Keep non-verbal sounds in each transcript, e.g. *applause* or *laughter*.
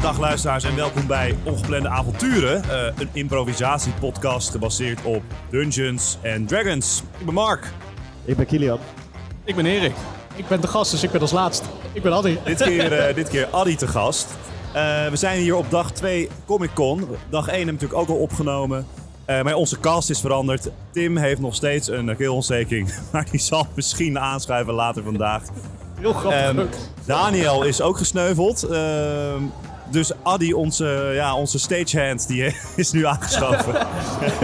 Dag luisteraars en welkom bij Ongeplande Avonturen. eh, een improvisatiepodcast gebaseerd op Dungeons and Dragons. Ik ben Mark. Ik ben Kilian. Ik ben Erik. Ik ben de gast, dus ik ben als laatst. Ik ben Adi. Dit keer, eh, dit keer Addy te gast. Eh, we zijn hier op dag 2 Comic Con. Dag 1 hebben we natuurlijk ook al opgenomen. Eh, maar onze cast is veranderd. Tim heeft nog steeds een keelontsteking. *laughs* Maar die zal misschien aanschuiven later vandaag. *laughs* Heel grappig. Ehm, Daniel is ook gesneuveld. Ehm, dus Addy, onze, ja, onze stagehand, die *laughs* is nu aangeschoven.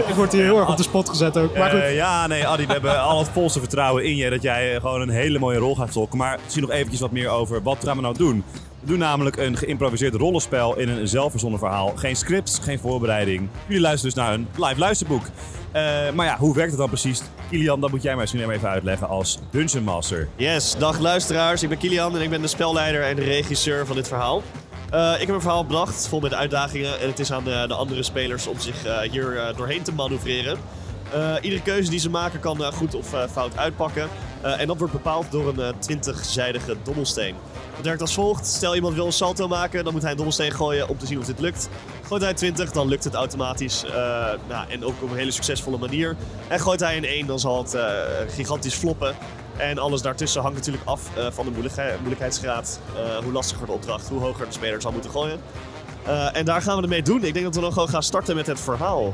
ik word hier heel erg op de spot gezet ook. Maar Eh, goed, ja, nee, Adi, we hebben al het volste vertrouwen in je dat jij eh, gewoon een hele mooie rol gaat tolken. Maar zie nog eventjes wat meer over wat gaan we nou doen. We doen namelijk een geïmproviseerd rollenspel in een zelfverzonnen verhaal. Geen scripts, geen voorbereiding. Jullie luisteren dus naar een live luisterboek. Eh, maar ja, hoe werkt het dan precies? Kilian, dat moet jij mij misschien even uitleggen als Dungeon Master. Yes, dag luisteraars. Ik ben Kilian en ik ben de spelleider en de regisseur van dit verhaal. Eh, ik heb een verhaal bedacht, vol met uitdagingen. En het is aan eh, de, de andere spelers om zich eh, hier eh, doorheen te manoeuvreren. Eh, iedere keuze die ze maken kan eh, goed of eh, fout uitpakken. Eh, en dat wordt bepaald door een eh, twintigzijdige dobbelsteen. Dat werkt als volgt. Stel iemand wil een salto maken, dan moet hij een dobbelsteen gooien om te zien of dit lukt. Gooit hij 20, dan lukt het automatisch. eh, nou, en ook op een hele succesvolle manier. En gooit hij een 1, dan zal het eh, gigantisch floppen. En alles daartussen hangt natuurlijk af eh, van de moeilijkhe- moeilijkheidsgraad. Eh, hoe lastiger de opdracht, hoe hoger de speler zal moeten gooien. Eh, en daar gaan we ermee doen. Ik denk dat we dan gewoon gaan starten met het verhaal.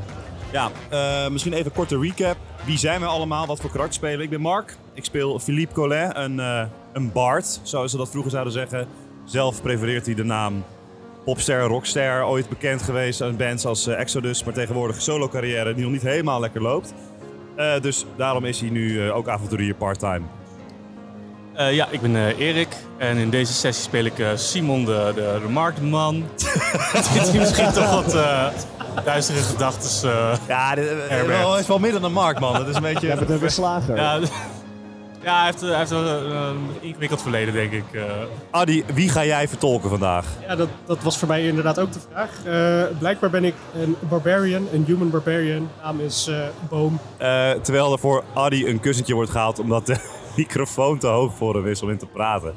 Ja, eh, misschien even een korte recap. Wie zijn we allemaal? Wat voor karakter spelen? we? Ik ben Mark. Ik speel Philippe Collet, een, eh een bard, zoals ze dat vroeger zouden zeggen. Zelf prefereert hij de naam popster, rockster. Ooit bekend geweest aan bands als eh, Exodus, maar tegenwoordig solo carrière die nog niet helemaal lekker loopt. Eh, dus daarom is hij nu eh, ook avonturier part-time. Eh, ja, ik ben eh, Erik en in deze sessie speel ik eh, Simon de, de, de marktman. *laughs* Dit is misschien toch wat eh duistere gedachten. eh. Ja, dit Herbert. is wel midden dan Mark, man. Dat is een beetje... Ja, bent een slager. ja, ja, hij heeft, eh, hij heeft wel een een ingewikkeld verleden, denk ik. eh. Adi, wie ga jij vertolken vandaag? ja, dat, dat was voor mij inderdaad ook de vraag. Eh, blijkbaar ben ik een barbarian, een human barbarian. Naam is eh, Boom. Eh, terwijl er voor Addy een kussentje wordt gehaald omdat de *laughs* microfoon te hoog voor hem is om in te praten.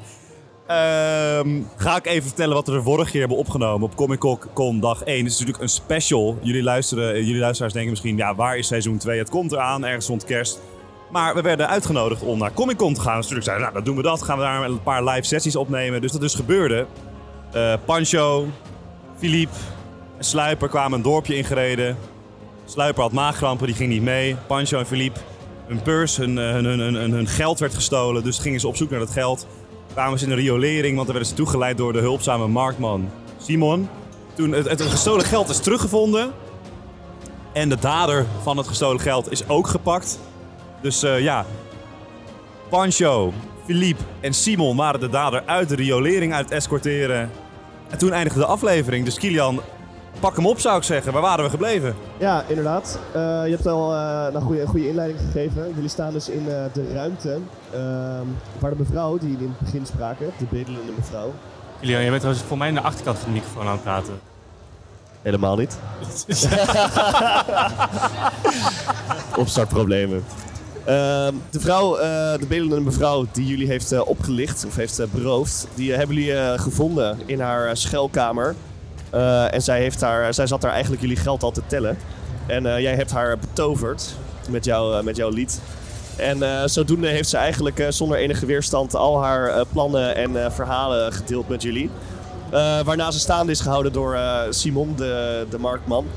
Ehm, ga ik even vertellen wat we de vorige keer hebben opgenomen op Comic Con dag 1. Het is natuurlijk een special. Jullie, luisteren, eh, jullie luisteraars denken misschien, ja, waar is seizoen 2? Het komt eraan, ergens rond kerst. Maar we werden uitgenodigd om naar Comic Con te gaan. Dus natuurlijk zeiden we, nou, dan doen we dat. Gaan we daar een paar live sessies opnemen. Dus dat is gebeurde. Eh, Pancho, Philippe en Sluiper kwamen een dorpje ingereden. Sluiper had maagkrampen, die ging niet mee. Pancho en Philippe, hun pers, hun, eh, hun, hun, hun, hun- hun geld werd gestolen. Dus gingen ze op zoek naar dat geld. Kwamen ze in een riolering, want dan werden ze toegeleid door de hulpzame marktman Simon. Toen het, het gestolen geld is teruggevonden. En de dader van het gestolen geld is ook gepakt. Dus eh, ja, Pancho, Philippe en Simon waren de dader uit de riolering uit het escorteren. En toen eindigde de aflevering. Dus Kilian, pak hem op zou ik zeggen. Waar waren we gebleven? Ja, inderdaad. Eh, je hebt al eh, een goede, goede inleiding gegeven. Jullie staan dus in eh, de ruimte ehm, waar de mevrouw die jullie in het begin spraken, de bedelende mevrouw. Julian, jij bent trouwens voor mij aan de achterkant van de microfoon aan het praten. Helemaal *laughs* niet. Opstartproblemen. Ehm, de vrouw, eh, de bedelende mevrouw die jullie heeft eh, opgelicht of heeft eh, beroofd, die eh, hebben jullie eh, gevonden in haar eh, schelkamer. Eh, en zij, heeft haar, zij zat daar eigenlijk jullie geld al te tellen. En eh, jij hebt haar betoverd met, jou, eh, met jouw lied. En eh, zodoende heeft ze eigenlijk eh, zonder enige weerstand al haar eh, plannen en eh, verhalen gedeeld met jullie. Eh, waarna ze staande is gehouden door eh, Simon, de, de marktman. *laughs*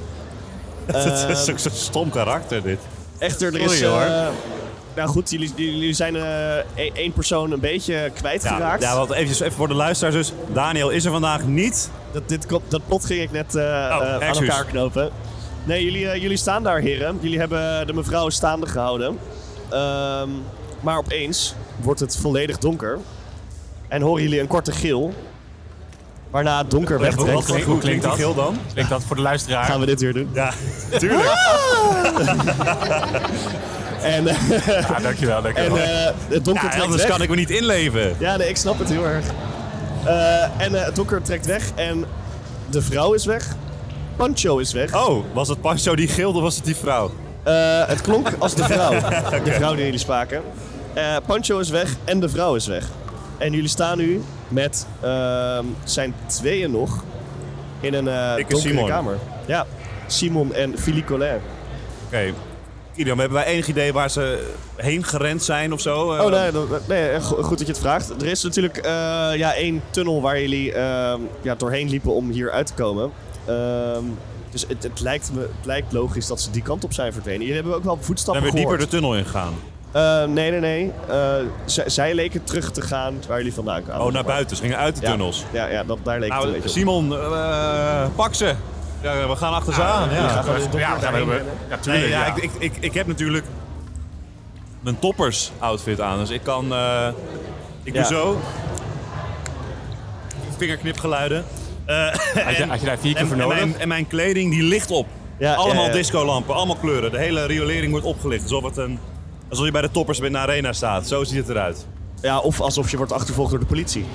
Het is Ehm, ook zo'n stom karakter, dit. Echter, er is... Sorry, hoor. eh, nou goed, jullie, jullie zijn eh, e- één persoon een beetje Ja, kwijtgeraakt. ja want even, even voor de luisteraars dus. Daniel is er vandaag niet. dat, dit, klop- dat plot ging ik net eh, eh, aan Oh, excuus. elkaar knopen. Nee, jullie, eh, jullie staan daar, heren. Jullie hebben de mevrouw staande gehouden. Ehm, maar opeens wordt het volledig donker. En horen jullie een korte gil. Waarna het donker Wat- wegtrekt. hoe Hoe klinkt klinkt die dat? gil dan? Klinkt dat voor de luisteraar? Gaan we dit weer doen. Ja, *laughs* tuurlijk. En, Ja, dankjewel, en dankjewel. eh, het donker Ja, trekt anders weg. kan ik me niet inleven. Ja, nee, ik snap het heel erg. Eh, en eh, het donker trekt weg en de vrouw is weg. Pancho is weg. Oh, was het Pancho die gilde of was het die vrouw? Eh, het klonk als de vrouw. *laughs* De vrouw die jullie spraken. Eh, Pancho is weg en de vrouw is weg. En jullie staan nu met ehm, zijn tweeën nog. in een eh Ik en donkere Simon. kamer. Ja, Simon en Philippe Collin. Oké. Kilian, hebben wij enig idee waar ze heen gerend zijn of zo? Oh, nee, dat- nee, eh, go- goed dat je het vraagt. Er is natuurlijk eh, ja, één tunnel waar jullie ehm, ja, doorheen liepen om hier uit te komen. Ehm, dus het, het, lijkt me, het lijkt logisch dat ze die kant op zijn verdwenen. Jullie hebben ook wel Dan voetstappen weer dieper gehoord. de tunnel ingegaan. Eh, nee, nee, nee. Eh, zij- zij leken terug te gaan waar jullie vandaan kwamen. Oh, naar buiten. Ze gingen uit de Ja. tunnels. Ja, ja dat, daar leek het een Nou, beetje op. Simon, eh, pak ze. Ja, we gaan achter ze aan. Ja, gaan gewoon ja, donker ja, we- we- daarheen Ja, tuurlijk. Nee, ja, ja. Ik, ik, ik, ik heb natuurlijk mijn toppers outfit aan. Dus ik kan. eh, ik Ja. doe zo. Vingerknipgeluiden. Eh, had, je, had je daar vier keer en, voor en nodig? mijn, en mijn kleding die ligt op. Ja, allemaal ja, ja. discolampen, allemaal kleuren. De hele riolering wordt opgelicht. Alsof, het een, alsof je bij de toppers in de arena staat. Zo ziet het eruit. Ja, of alsof je wordt achtervolgd door de politie.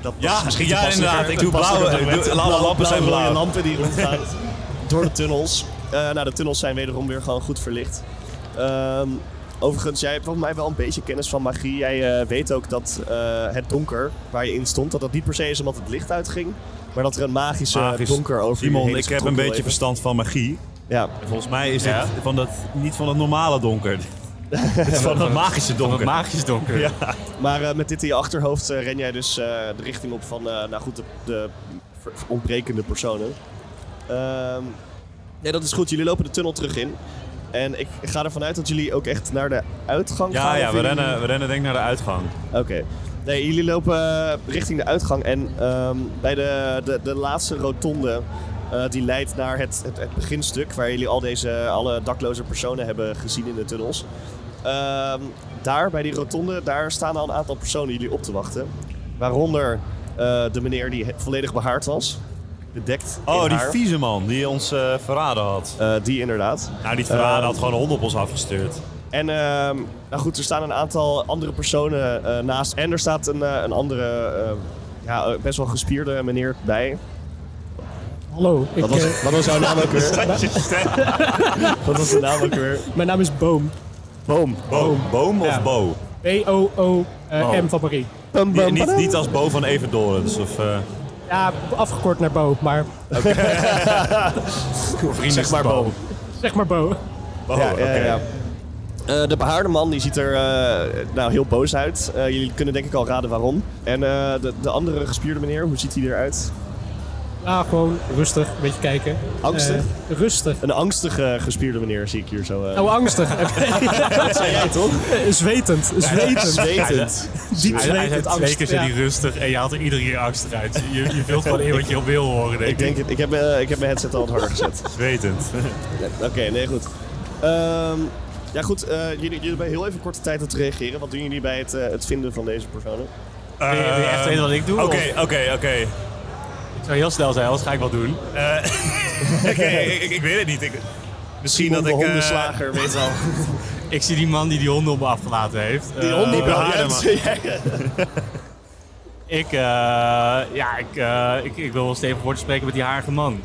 Dat, dat Ja, is misschien ja, toepasselijker. inderdaad. Ik doe Toepasselijker blauwe- dan ik met doe- blauwe lampen zijn rode blauw. lampen die *laughs* rondgaan door de tunnels. Eh, nou, de tunnels zijn wederom weer gewoon goed verlicht. Ehm, overigens, jij hebt volgens mij wel een beetje kennis van magie. Jij eh, weet ook dat eh, het donker waar je in stond, dat dat niet per se is omdat het licht uitging. Maar dat er een magische Magisch. donker over je Simon, heen is ik heb een getrokken beetje even. verstand van magie. Ja, En volgens mij is Ja. het van dat, niet van het normale donker. het is van het magische Van donker. het magisch donker. Ja. Maar eh, met dit in je achterhoofd eh, ren jij dus eh, de richting op van, eh, nou goed, de, de ver- ontbrekende personen. Ehm, nee, dat is goed. Jullie lopen de tunnel terug in. En ik ga ervan uit dat jullie ook echt naar de uitgang Ja, gaan. ja of we, jullie- rennen, we rennen denk ik naar de uitgang. Oké. Nee, jullie lopen eh, richting de uitgang. En ehm, bij de, de, de laatste rotonde, eh, die leidt naar het, het, het beginstuk... waar jullie al deze, alle dakloze personen hebben gezien in de tunnels. Ehm, daar, bij die rotonde, daar staan al een aantal personen jullie op te wachten. Waaronder eh, de meneer die he- volledig behaard was. Bedekt in Oh, die haar. vieze man die ons eh, verraden had. Eh, die inderdaad. Nou, die verraden Eh, had gewoon een hond op ons afgestuurd. En ehm, nou goed, er staan een aantal andere personen eh, naast. En er staat een, eh, een andere, eh, ja, eh, best wel gespierde meneer bij. Hallo, ik, Wat was, eh, wat was jouw naam ook weer? *laughs* Wat was de naam ook weer? mijn naam is Boom. Boom. Boom, boom of Ja. Bo? B-O-O-M eh, van Paris. Bum, Die- bum, niet, bada. niet als Bo van Evendoren. Dus of, eh, Ja, afgekort naar Bo, maar Vrienden Zeg maar boom. zeg maar Bo. Bo, Ja, ja, oké. ja. oh, Eh, de behaarde man die ziet er eh, nou, heel boos uit. Eh, jullie kunnen denk ik al raden waarom. En eh, de, de andere gespierde meneer, hoe ziet hij eruit? Ah, gewoon rustig, een beetje kijken. Angstig? Eh, rustig. Een angstige gespierde meneer zie ik hier zo. eh. Oh, angstig. *laughs* dat zei jij toch? Zwetend, zwetend. *laughs* Zwetend. Diep Hij, Dus zwetend, hij zei twee keer angstig. zei Ja. die rustig en je haalt er iedere keer angst uit. Je, je vult gewoon in wat je op wil horen, denk Ik ik. denk het. Ik heb, eh, ik heb mijn headset al wat harder gezet. Zwetend. Nee, Oké, nee, goed. Ehm, ja, goed. eh, jullie, jullie hebben heel even korte tijd om te reageren. Wat doen jullie bij het, eh, het vinden van deze personen? Wil je- wil je echt weten wat ik doe? Eh, Oké, oké, oké. Ik zou heel snel zijn, anders ga ik wel doen. Oké, ik ik- ik weet het niet. Ik, misschien Simon dat ik... de eh, hondenslager, weet al. Ik zie die man die die honden op me afgelaten heeft. *laughs* Die Eh, honden die behaarde *laughs* Ja, dat man. zei jij. Ik, eh, ja, ik, eh, ik, ik wil wel stevig woord spreken met die harige man.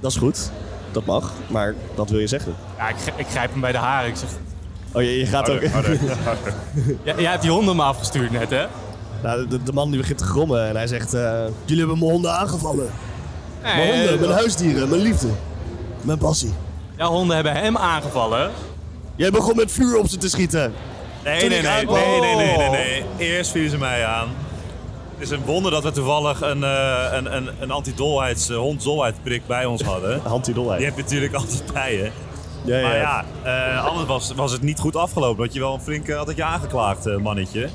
Dat is goed. Dat mag. Maar dat wil je zeggen. Ja, ik, gr- ik grijp hem bij de haren. Ik zeg, Oh, je, je gaat ook... *laughs* "Ja, jij hebt die honden op me afgestuurd net, hè? Nou, de, de man die begint te grommen en hij zegt... eh, jullie hebben mijn honden aangevallen. Mijn Nee, honden, eh, mijn huisdieren, mijn liefde. Mijn passie. Ja, honden hebben hem aangevallen. Jij begon met vuur op ze te schieten. Nee, Toen nee, ik nee, uitkwam- nee, nee, nee, nee, nee. Eerst vielen ze mij aan. Het is een wonder dat we toevallig een, eh een, een, een antidolheids, eh, hondzolheidprik bij ons hadden. Hand die dolheid. Die heb je natuurlijk altijd bij je. Ja, ja, Maar ja. ja, eh, anders was, was het niet goed afgelopen. Dat je wel een flinke had het je aangeklaagd, eh, mannetje.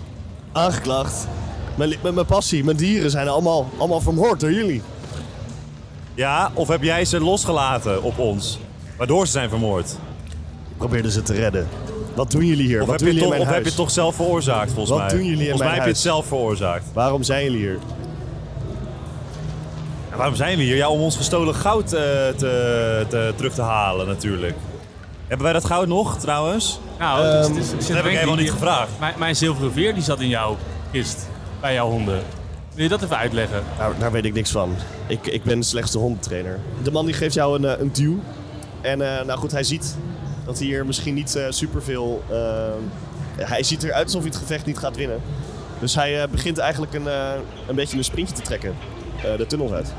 Aangeklaagd. Mijn, li- mijn, mijn passie, mijn dieren zijn allemaal, allemaal vermoord door jullie. Ja, of heb jij ze losgelaten op ons? Waardoor ze zijn vermoord. probeerden ze te redden. Wat doen jullie hier? Of, Wat heb doen je, jullie toch, in mijn of heb je het huis? toch zelf veroorzaakt, volgens Wat mij? doen jullie in volgens mijn mij heb je het huis? zelf veroorzaakt. Waarom zijn jullie hier? En waarom zijn we hier? Ja, om ons gestolen goud eh, te, te- terug te halen, natuurlijk. Hebben wij dat goud nog, trouwens? Nou, Ehm, het is- het is- het is- Dat heb ik denk helemaal die- niet gevraagd. Mijn, mijn zilveren veer die zat in jouw kist. Bij jouw honden. Wil je dat even uitleggen? Nou, daar weet ik niks van. Ik, ik ben slechts de hondentrainer. De man die geeft jou een, eh, een duw. En eh, nou goed, hij ziet dat hij hier misschien niet eh, superveel... eh, hij ziet eruit alsof hij het gevecht niet gaat winnen. Dus hij eh, begint eigenlijk een, eh, een beetje een sprintje te trekken. eh, de tunnels uit.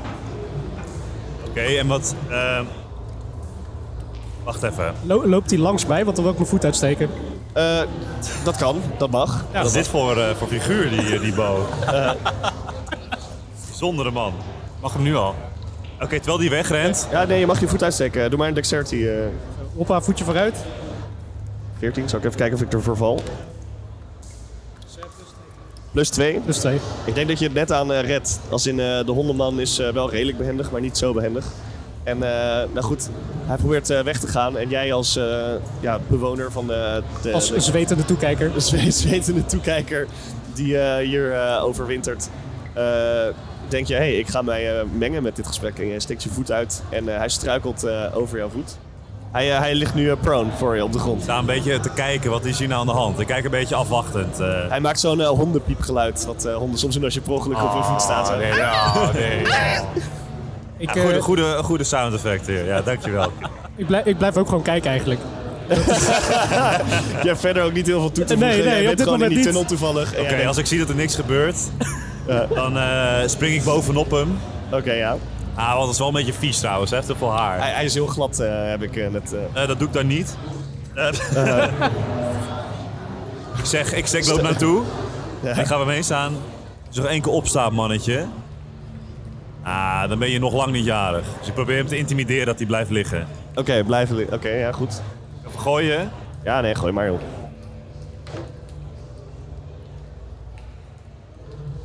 en wat... eh, wacht even. Lo- loopt hij langs mij, want dan wil ik mijn voet uitsteken. Eh, dat kan, dat mag. Wat is dit voor, eh, voor figuur, die, eh, die Bo? Bijzondere man. Mag hem nu al. Oké, terwijl die wegrent... Ja, nee, je mag je voet uitsteken. Doe maar een dexterity. eh, Hoppa, voetje vooruit. 14. Zal ik even kijken of ik ervoor val. Plus 2. Dus twee. Ik denk dat je het net aan eh, redt. Als in eh, de hondenman is eh, wel redelijk behendig, maar niet zo behendig. En eh, nou goed, hij probeert eh, weg te gaan. En jij als eh, ja, bewoner van de, de, Als de- zwetende Dus toekijker. een *laughs* zwe- zwetende toekijker die eh, hier eh, overwintert. eh, denk je, hé, hey, ik ga mij eh, mengen met dit gesprek. En je steekt je voet uit en eh, hij struikelt eh, over jouw voet. Hij, eh, hij ligt nu eh, prone voor je op de grond. Sta een beetje te kijken, wat is hier nou aan de hand? Ik kijk een beetje afwachtend. eh. Hij maakt zo'n eh, hondenpiepgeluid. Wat eh, honden soms doen als je per ongeluk op hun voet staat. Oh, zo. nee, ja, nee. Ik, Ja, goede, eh, goede, goede sound effect hier. Ja, dankjewel. ik, blijf, ik blijf ook gewoon kijken eigenlijk. *laughs* Je hebt verder ook niet heel veel toe te Nee, voegen. nee, Jij op bent dit gewoon in moment die niet. tunnel toevallig. En Oké, jij denkt, als ik zie dat er niks gebeurt, dan eh, spring ik bovenop hem. Oké, ja. Ah, want dat is wel een beetje vies trouwens, hè? Te veel haar. Hij, hij is heel glad, eh, heb ik eh, net... eh. Eh, dat doe ik dan niet. Eh, ik zeg, ik zeg, loop naartoe. Ik ga ermee staan. Dus nog één keer opstaan, mannetje. Ah, dan ben je nog lang niet jarig. Dus ik probeer hem te intimideren dat hij blijft liggen. Oké, blijven li- Oké, ja, goed. Even gooien. Ja, nee, gooi maar op.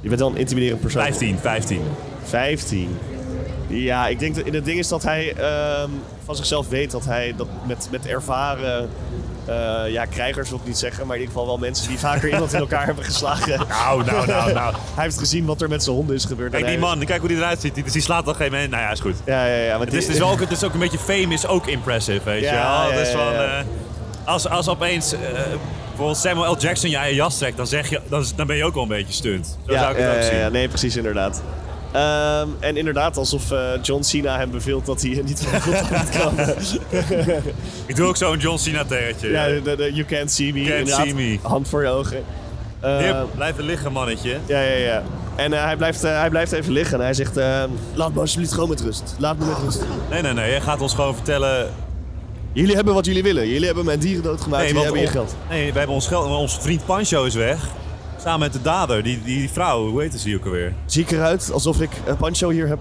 Je bent wel een intimiderend persoon. 15, 15. 15. Ja, ik denk dat het ding is dat hij ehm, van zichzelf weet dat hij dat met, met ervaren eh, ja, krijgers wil ik niet zeggen, maar in ieder geval wel mensen die vaker iemand in elkaar hebben *laughs* geslagen. Nou, nou, nou, nou. Hij heeft gezien wat er met zijn honden is gebeurd. Kijk En die hij- man, kijk hoe die eruit ziet. Die, dus die slaat nog geen moment. Nou ja, is goed. Ja, ja, ja. Want Dus Het is, het is wel ook, het is ook een beetje fame is ook impressive, weet Ja, je wel. Het is ja, ja, van, ja. eh, als, als opeens eh, bijvoorbeeld Samuel L. Jackson jij een jas trekt, dan, zeg je, dan, dan ben je ook wel een beetje stunt. Zo zou ik het *laughs* ja, ook ja, zien. ja, nee, precies, inderdaad. Ehm, en inderdaad, alsof eh, John Cena hem beveelt dat hij eh, niet van de grond af moet *laughs* komen. Ik doe ook zo'n John Cena tegentje. ja, Ja. de, de- you can't see me. Can't inderdaad. see me. Hand voor je ogen. Eh, Hier, blijven liggen, mannetje. Ja, ja, ja. En eh, hij, blijft, eh, hij blijft even liggen en hij zegt... eh, Laat me alsjeblieft gewoon met rust. Laat me met rust. Nee, nee, nee. Jij gaat ons gewoon vertellen... Jullie hebben wat jullie willen. Jullie hebben mijn dieren doodgemaakt. Nee, jullie want hebben je on- geld. Nee, we hebben ons geld. maar Ons vriend Pancho is weg. Samen met de dader. Die, die, die vrouw. Hoe heet ze ook alweer? Zie ik eruit alsof ik eh, Pancho hier heb?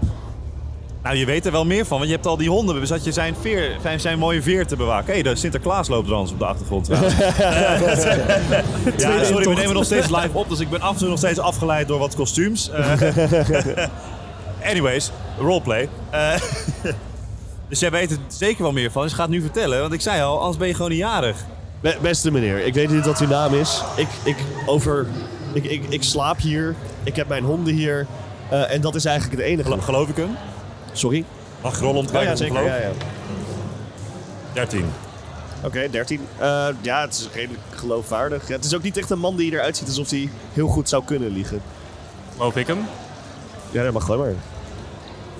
Nou, je weet er wel meer van. Want je hebt al die honden. We zat je zijn, veer, zijn, zijn mooie veer te bewaken. Hé, hey, de Sinterklaas loopt trouwens op de achtergrond. trouwens. ja, sorry, we nemen nog steeds live op. Dus ik ben af en toe nog steeds afgeleid door wat kostuums. Eh, anyways, roleplay. Eh, *laughs* dus jij weet er zeker wel meer van. Dus gaat nu vertellen. Want ik zei al, anders ben je gewoon niet jarig. Be- Beste meneer, ik weet niet wat uw naam is. Ik, ik, over, ik, ik, ik slaap hier. Ik heb mijn honden hier. eh, en dat is eigenlijk het enige. Gel- Geloof ik hem? Sorry? Mag ik rollen om te kijken of ik hem geloof? ja. 13. Oké, 13. Eh, ja, het is redelijk geloofwaardig. Ja, het is ook niet echt een man die eruit ziet alsof hij heel goed zou kunnen liegen. Geloof ik hem? Ja, dat mag gewoon maar.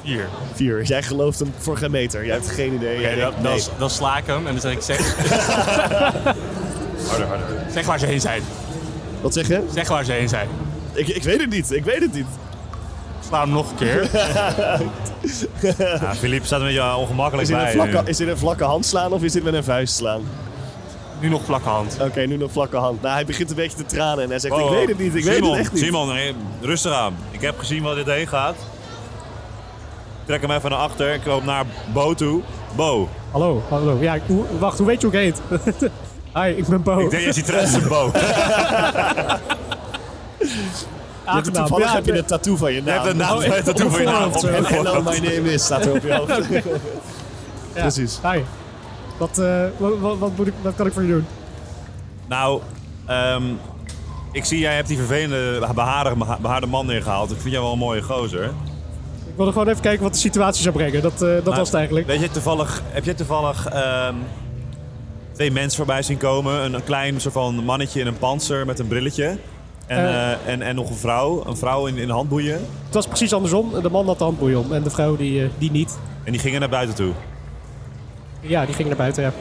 Vier. Vier. Jij gelooft hem voor geen meter. Jij hebt geen idee. Jij Oké, denkt, dan, nee. dan, dan sla ik hem en dan zeg ik zeg... *laughs* harder, harder. Zeg waar ze heen zijn. Wat zeg je? Zeg waar ze heen zijn. Ik, ik weet het niet. Ik weet het niet. Sla hem nog een *laughs* keer. Ja, Philippe staat er een beetje ongemakkelijk Is dit, een bij. nu. vlakke, is dit een vlakke hand slaan of is dit met een vuist slaan? Nu nog plakken hand. Oké, nu een vlakke hand. Nou, hij begint een beetje te tranen en hij zegt, Oh, ik weet het niet. Ik weet Simon, het echt niet. Simon, hey, rustig aan. Ik heb gezien waar dit heen gaat. Ik trek hem even naar achter. Ik loop naar Bo toe. Bo. Hallo, hallo. Ja, ik- hoe- wacht, hoe weet je hoe ik heet? *laughs* Hi, ik ben Bo. Ik denk, je ziet eruit als een *laughs* Bo. Je Je hebt Aangenaam. Nou, toevallig Nou, Ja, Oh, heb je ik- een tattoo van je naam. Oh, hebt een naam echt? dat doe voor je Op naam. voorhand, zo. Op- *laughs* Hello, my name is, staat er op je *laughs* hoofd. ja. precies. Hi. Wat, eh, wat, wat, wat moet ik, wat kan ik voor je doen? Nou, ehm, ik zie jij hebt die vervelende behaarde, behaarde man neergehaald. Ik vind jij wel een mooie gozer. Ik wilde gewoon even kijken wat de situatie zou brengen. Dat, eh, dat Maar was het eigenlijk. Weet je, toevallig, heb je toevallig ehm, twee mensen voorbij zien komen? Een, een klein soort van mannetje in een panzer met een brilletje. En, Eh. eh, en, en nog een vrouw. Een vrouw in, in handboeien. Het was precies andersom. De man had de handboei om en de vrouw die, eh, die niet. En die gingen naar buiten toe. Ja, die ging naar buiten. Ja.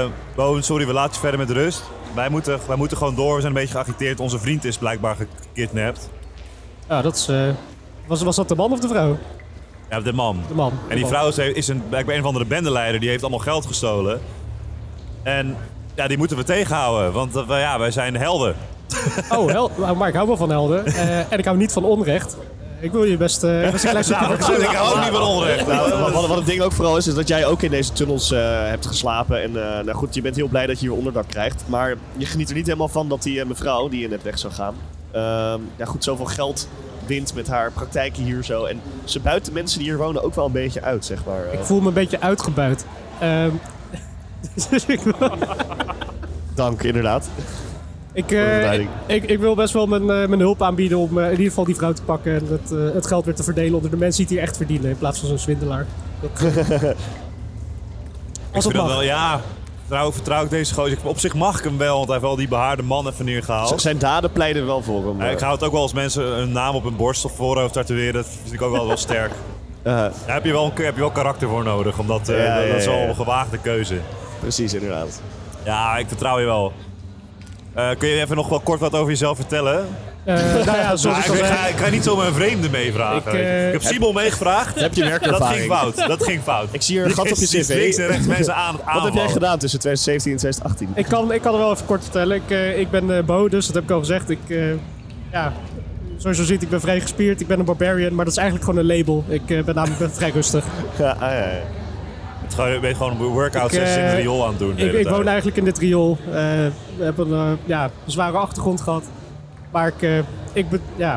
Eh Bo, sorry, we laten je verder met rust. Wij moeten, wij moeten gewoon door. We zijn een beetje geagiteerd. Onze vriend is blijkbaar gekidnapt. Ja, dat is, eh, was, was dat de man of de vrouw? Ja, de man. De man. En die De man. vrouw is, is een, blijkbaar een of andere bendeleider. Die heeft allemaal geld gestolen. En ja, die moeten we tegenhouden. Want eh, wij- ja, wij zijn helden. Oh, hel, nou, maar ik hou wel van helden. Eh, en ik hou niet van onrecht. Eh, Ik wil je best eh, best een klein stukje Nou, vertellen. *laughs* ik hou ook niet van onrecht. Nou, Wat, wat, wat het ding ook vooral is, is dat jij ook in deze tunnels eh, hebt geslapen. En eh, nou goed, je bent heel blij dat je hier onderdak krijgt. Maar je geniet er niet helemaal van dat die eh, mevrouw, die je net weg zou gaan, ehm, ja, goed zoveel geld wint met haar praktijken hier zo. En ze buiten de mensen die hier wonen ook wel een beetje uit, zeg maar. eh. Ik voel me een beetje uitgebuit. Ehm, *laughs* dus ik wil- dank, inderdaad. Ik, de eh, leiding. ik, ik wil best wel mijn, eh, mijn hulp aanbieden om eh, in ieder geval die vrouw te pakken en het, eh, het geld weer te verdelen onder de mensen die het hier echt verdienen in plaats van zo'n swindelaar. Dat, Ik als het vind mag. dat wel, ja. Trouw, vertrouw ik deze gozer. Ik- Op zich mag ik hem wel, want hij heeft wel die behaarde man even Z- neergehaald. Zijn daden pleiden wel voor hem. Ja, ik eh. hou het ook wel als mensen een naam op hun borst of voorhoofd tatoeëren. Dat vind ik ook wel wel *laughs* sterk. Eh, Daar heb je wel, een- heb je wel karakter voor nodig. Omdat, eh, Ja, dat, ja, dat is wel ja. een gewaagde keuze. precies, inderdaad. Ja, ik vertrouw je wel. Eh, kun je even nog wel kort wat over jezelf vertellen? Eh, nou ja, zoals Ja, ik ik, al weet- zei- ga, ik ga niet zomaar een vreemde meevragen. Ik, weet je. eh, ik heb Simon meegevraag. Heb je Dat werkervaring? ging fout. Dat ging fout. Ik zie *laughs* hier een gat op je Die is cv. Links en rechts mensen aan het Wat heb jij aanvallen. gedaan tussen 2017 en 2018? Ik kan, ik kan er wel even kort vertellen. Ik, eh, ik ben eh, Bo, dus dat heb ik al gezegd. Ik, eh, ja, zoals je ziet, ik ben vrij gespierd. Ik ben een barbarian, maar dat is eigenlijk gewoon een label. Ik eh, ben namelijk ben vrij rustig. Ja, ah, ja, ja. Het gewoon- Je bent gewoon een workout Ik, eh, sessie in de riool aan het doen. de Ik, hele ik woon tijd. eigenlijk in dit riool. Eh, we hebben een eh, ja, zware achtergrond gehad. Maar ik, eh, ik, ben, ja,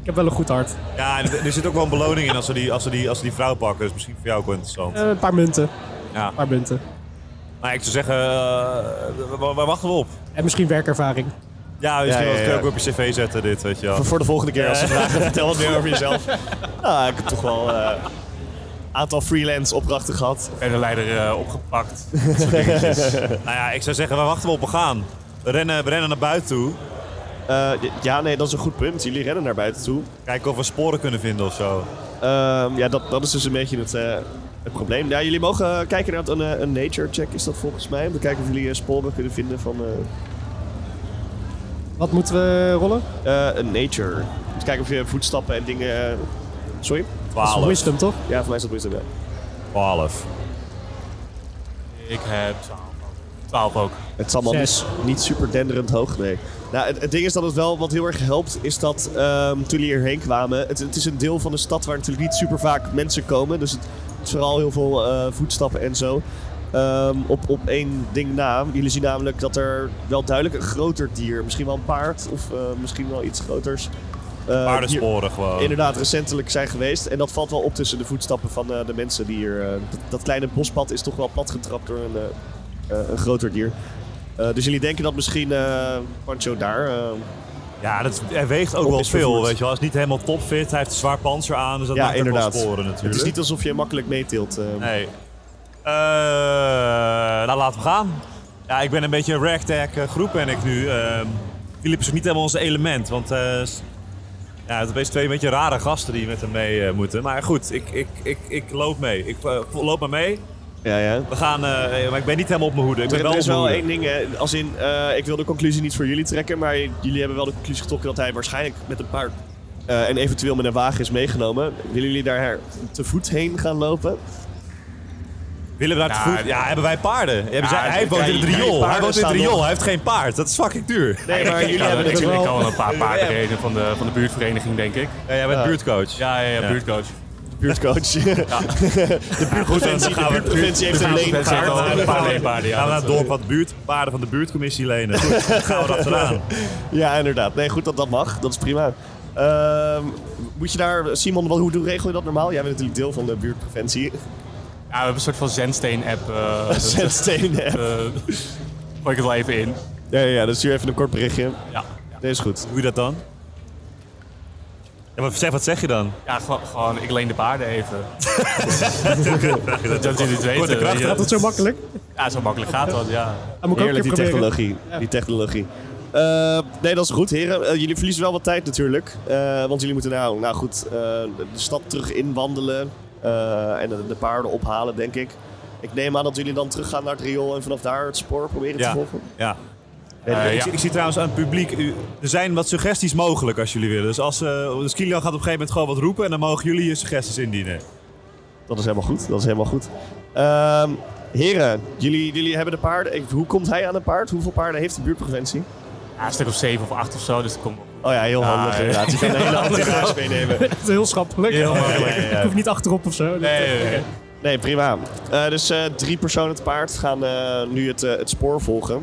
ik heb wel een goed hart. Ja, en er er zit ook wel een beloning in als we die, als we die, als we die vrouw pakken. Dus misschien voor jou ook wel interessant. Eh, een paar munten. Ja. Een paar munten. Maar ik zou zeggen, eh, waar, waar wachten we op? En misschien werkervaring. Ja, misschien Ja, ja, wel- kun je ja. ook op je cv zetten dit, weet je wel. *laughs* Voor- Voor de volgende keer als ze Ja. vragen, vertel wat meer over jezelf. Ah, ik heb toch wel een aantal freelance opdrachten gehad. En de leider eh, opgepakt. Nou ja, ik zou zeggen, waar wachten we op? We gaan. We rennen, we rennen naar buiten toe. Eh, j- ja, nee, dat is een goed punt. Jullie rennen naar buiten toe. Kijken of we sporen kunnen vinden of zo. Ehm, ja, dat, dat is dus een beetje het, eh, het probleem. Ja, jullie mogen kijken naar het- een, eh, een nature check, is dat volgens mij. Om te kijken of jullie eh, sporen kunnen vinden van Wat moeten we rollen? eh, eh, een nature. Om te kijken of je voetstappen en dingen... eh, sorry? 12. Wisdom, toch? Ja, voor mij is dat wisdom, ja. 12. Ik heb 12 ook. 12 ook. Het zal allemaal niet, Zes. niet super denderend hoog, nee. Nou, het, het ding is dat het wel wat heel erg helpt, is dat ehm, toen jullie hierheen kwamen... Het, het is een deel van de stad waar natuurlijk niet super vaak mensen komen. Dus het is vooral heel veel eh, voetstappen en zo. Ehm, op, op één ding na. Jullie zien namelijk dat er wel duidelijk een groter dier... Misschien wel een paard of eh, misschien wel iets groters... eh, hier Paardensporen gewoon. Inderdaad, recentelijk zijn geweest. En dat valt wel op tussen de voetstappen van eh, de mensen die hier... eh, dat, dat kleine bospad is toch wel platgetrapt door een, eh, eh, een groter dier. Eh, dus jullie denken dat misschien eh, Pancho daar. eh, Ja, dat, hij weegt ook Op wel is veel, vervoerd. weet je wel. Hij is niet helemaal topfit. Hij heeft een zwaar panzer aan, dus dat Ja, maakt ook wel inderdaad. sporen natuurlijk. het is niet alsof je makkelijk meetilt. eh. Nee. Eh, nou, laten we gaan. Ja, ik ben een beetje een ragtag eh, groep ben ik nu. Ehm Filip is ook niet helemaal ons element, want eh, s- ja, het zijn twee een beetje rare gasten die met hem mee eh, moeten. Maar goed, ik, ik, ik, ik loop mee. Ik eh, loop maar mee. Ja, ja. We gaan, eh, maar ik ben niet helemaal op mijn hoede. Ik ben Er, wel er op is mijn wel hoede. één ding, hè, als in, eh, ik wil de conclusie niet voor jullie trekken, maar jullie hebben wel de conclusie getrokken dat hij waarschijnlijk met een paard eh, en eventueel met een wagen is meegenomen. Willen jullie daar te voet heen gaan lopen? Willen we daar te Nou, voet? Ja, hebben wij paarden? Hebben Ja, zij, hij kijk, woont in het kijk, riool. Hij paarden woont in het staan riool. nog. Hij heeft geen paard. Dat is fucking duur. Nee, maar ik jullie kan, hebben ik, natuurlijk... ik wel- kan wel een *laughs* paar paarden reden van de, van de buurtvereniging, denk ik. Ja, jij bent buurtcoach. Ja, ja, ja, Ja. buurtcoach. buurtcoach. *laughs* Ja, goed, dan gaan we- de buurtprovincie heeft een Mensen leenkaart. hebben al een paar Paarden. leenpaarden, ja, Gaan we naar dat- het dorp wat buurt, paarden van de buurtcommissie *laughs* lenen. Goed, dan gaan we erachteraan. Ja, inderdaad. Nee, goed dat dat mag. Dat is prima. Ehm, moet je daar, Simon, wat, hoe, hoe regel je dat normaal? Jij bent natuurlijk deel van de buurtpreventie. Ja, we hebben een soort van zendsteen-app. *laughs* eh, dat- Zetsteen. eh, Gooi ik het wel even in. Ja, ja, ja, dus stuur even een kort berichtje. Ja, Nee, is goed. Hoe je dat dan? Ja, maar zeg, wat zeg je dan? ja gewoon, gewoon, ik leen de paarden *laughs* even. *laughs* dat jullie het weten. korte kracht, ja. gaat Dat is zo makkelijk. Ja, zo makkelijk gaat dat, ja. Dat moet ik ook een Heerlijk, keer die proberen. *laughs* technologie. Die technologie. Eh, nee, dat is goed, heren. Eh, jullie verliezen wel wat tijd natuurlijk. Eh, want jullie moeten nou, nou goed, eh, de stad terug inwandelen. eh, en de, de paarden ophalen, denk ik. Ik neem aan dat jullie dan teruggaan naar het riool en vanaf daar het spoor proberen Ja. te volgen. Ja. Eh, Eh, ik, ja. zie- ik zie trouwens aan het publiek, u- er zijn wat suggesties mogelijk als jullie willen. Dus, als, eh dus Kilian gaat op een gegeven moment gewoon wat roepen en dan mogen jullie je suggesties *laughs* indienen. Dat is helemaal goed, dat is helemaal goed. Ehm, heren, jullie, jullie hebben de paarden. Ik- Hoe komt hij aan een paard? Hoeveel paarden heeft de buurtprovincie? Ja, een stuk of zeven of acht of zo, dus dat komt wel goed. Oh ja, heel Ah, handig ja. inderdaad. Je kan een hele handige paard meenemen. Het is heel schappelijk. *laughs* Heel makkelijk. Ik hoef niet achterop of zo. Nee, nee, nee. Nee, prima. Eh, dus eh, drie personen het paard gaan eh, nu het, eh, het spoor volgen.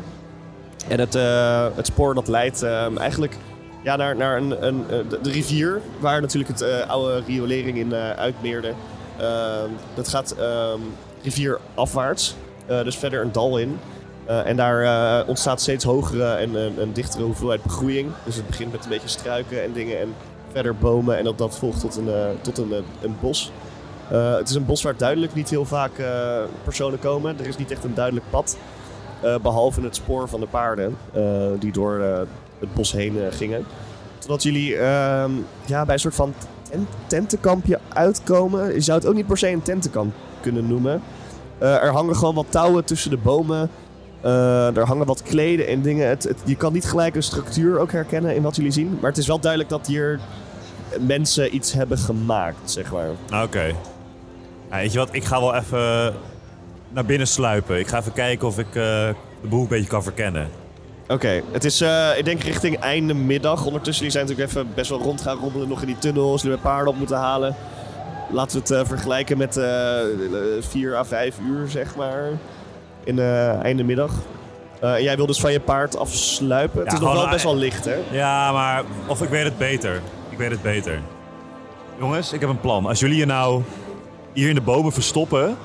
En het, eh, het spoor dat leidt eh, eigenlijk ja, naar, naar een, een, eh, de, de rivier, waar natuurlijk het eh, oude riolering in eh, uitmeerde. Ehm, dat gaat ehm, rivier afwaarts, eh, dus verder een dal in. Eh, en daar eh, ontstaat steeds hogere en en en dichtere hoeveelheid begroeiing. Dus het begint met een beetje struiken en dingen en verder bomen. En dat, dat volgt tot een, eh, tot een, eh, een bos. Eh, het is een bos waar duidelijk niet heel vaak eh, personen komen. Er is niet echt een duidelijk pad. eh, behalve het spoor van de paarden eh, die door eh, het bos heen eh, gingen. Totdat jullie ehm, ja, bij een soort van ten- tentenkampje uitkomen. Je zou het ook niet per se een tentenkamp kunnen noemen. Eh, er hangen gewoon wat touwen tussen de bomen. Eh, er hangen wat kleden en dingen. Het, het- je kan niet gelijk een structuur ook herkennen in wat jullie zien. Maar het is wel duidelijk dat hier mensen iets hebben gemaakt, zeg maar. Nou, Oké. Nou, weet je wat, ik ga wel even eh, naar binnen sluipen. Ik ga even kijken of ik eh, de boel een beetje kan verkennen. Oké, het is eh, ik denk richting einde middag. Ondertussen die zijn natuurlijk even best wel rond gaan rommelen nog in die tunnels. Jullie hebben paarden op moeten halen. Laten we het eh, vergelijken met eh, vier à vijf uur, zeg maar. In eh einde middag. Eh, en jij wil dus van je paard afsluipen. het Ja, is nog wel gewoon- best wel licht, hè? Ja, maar of ik weet het beter. Ik weet het beter. Jongens, ik heb een plan. Als jullie je nou hier in de bomen verstoppen,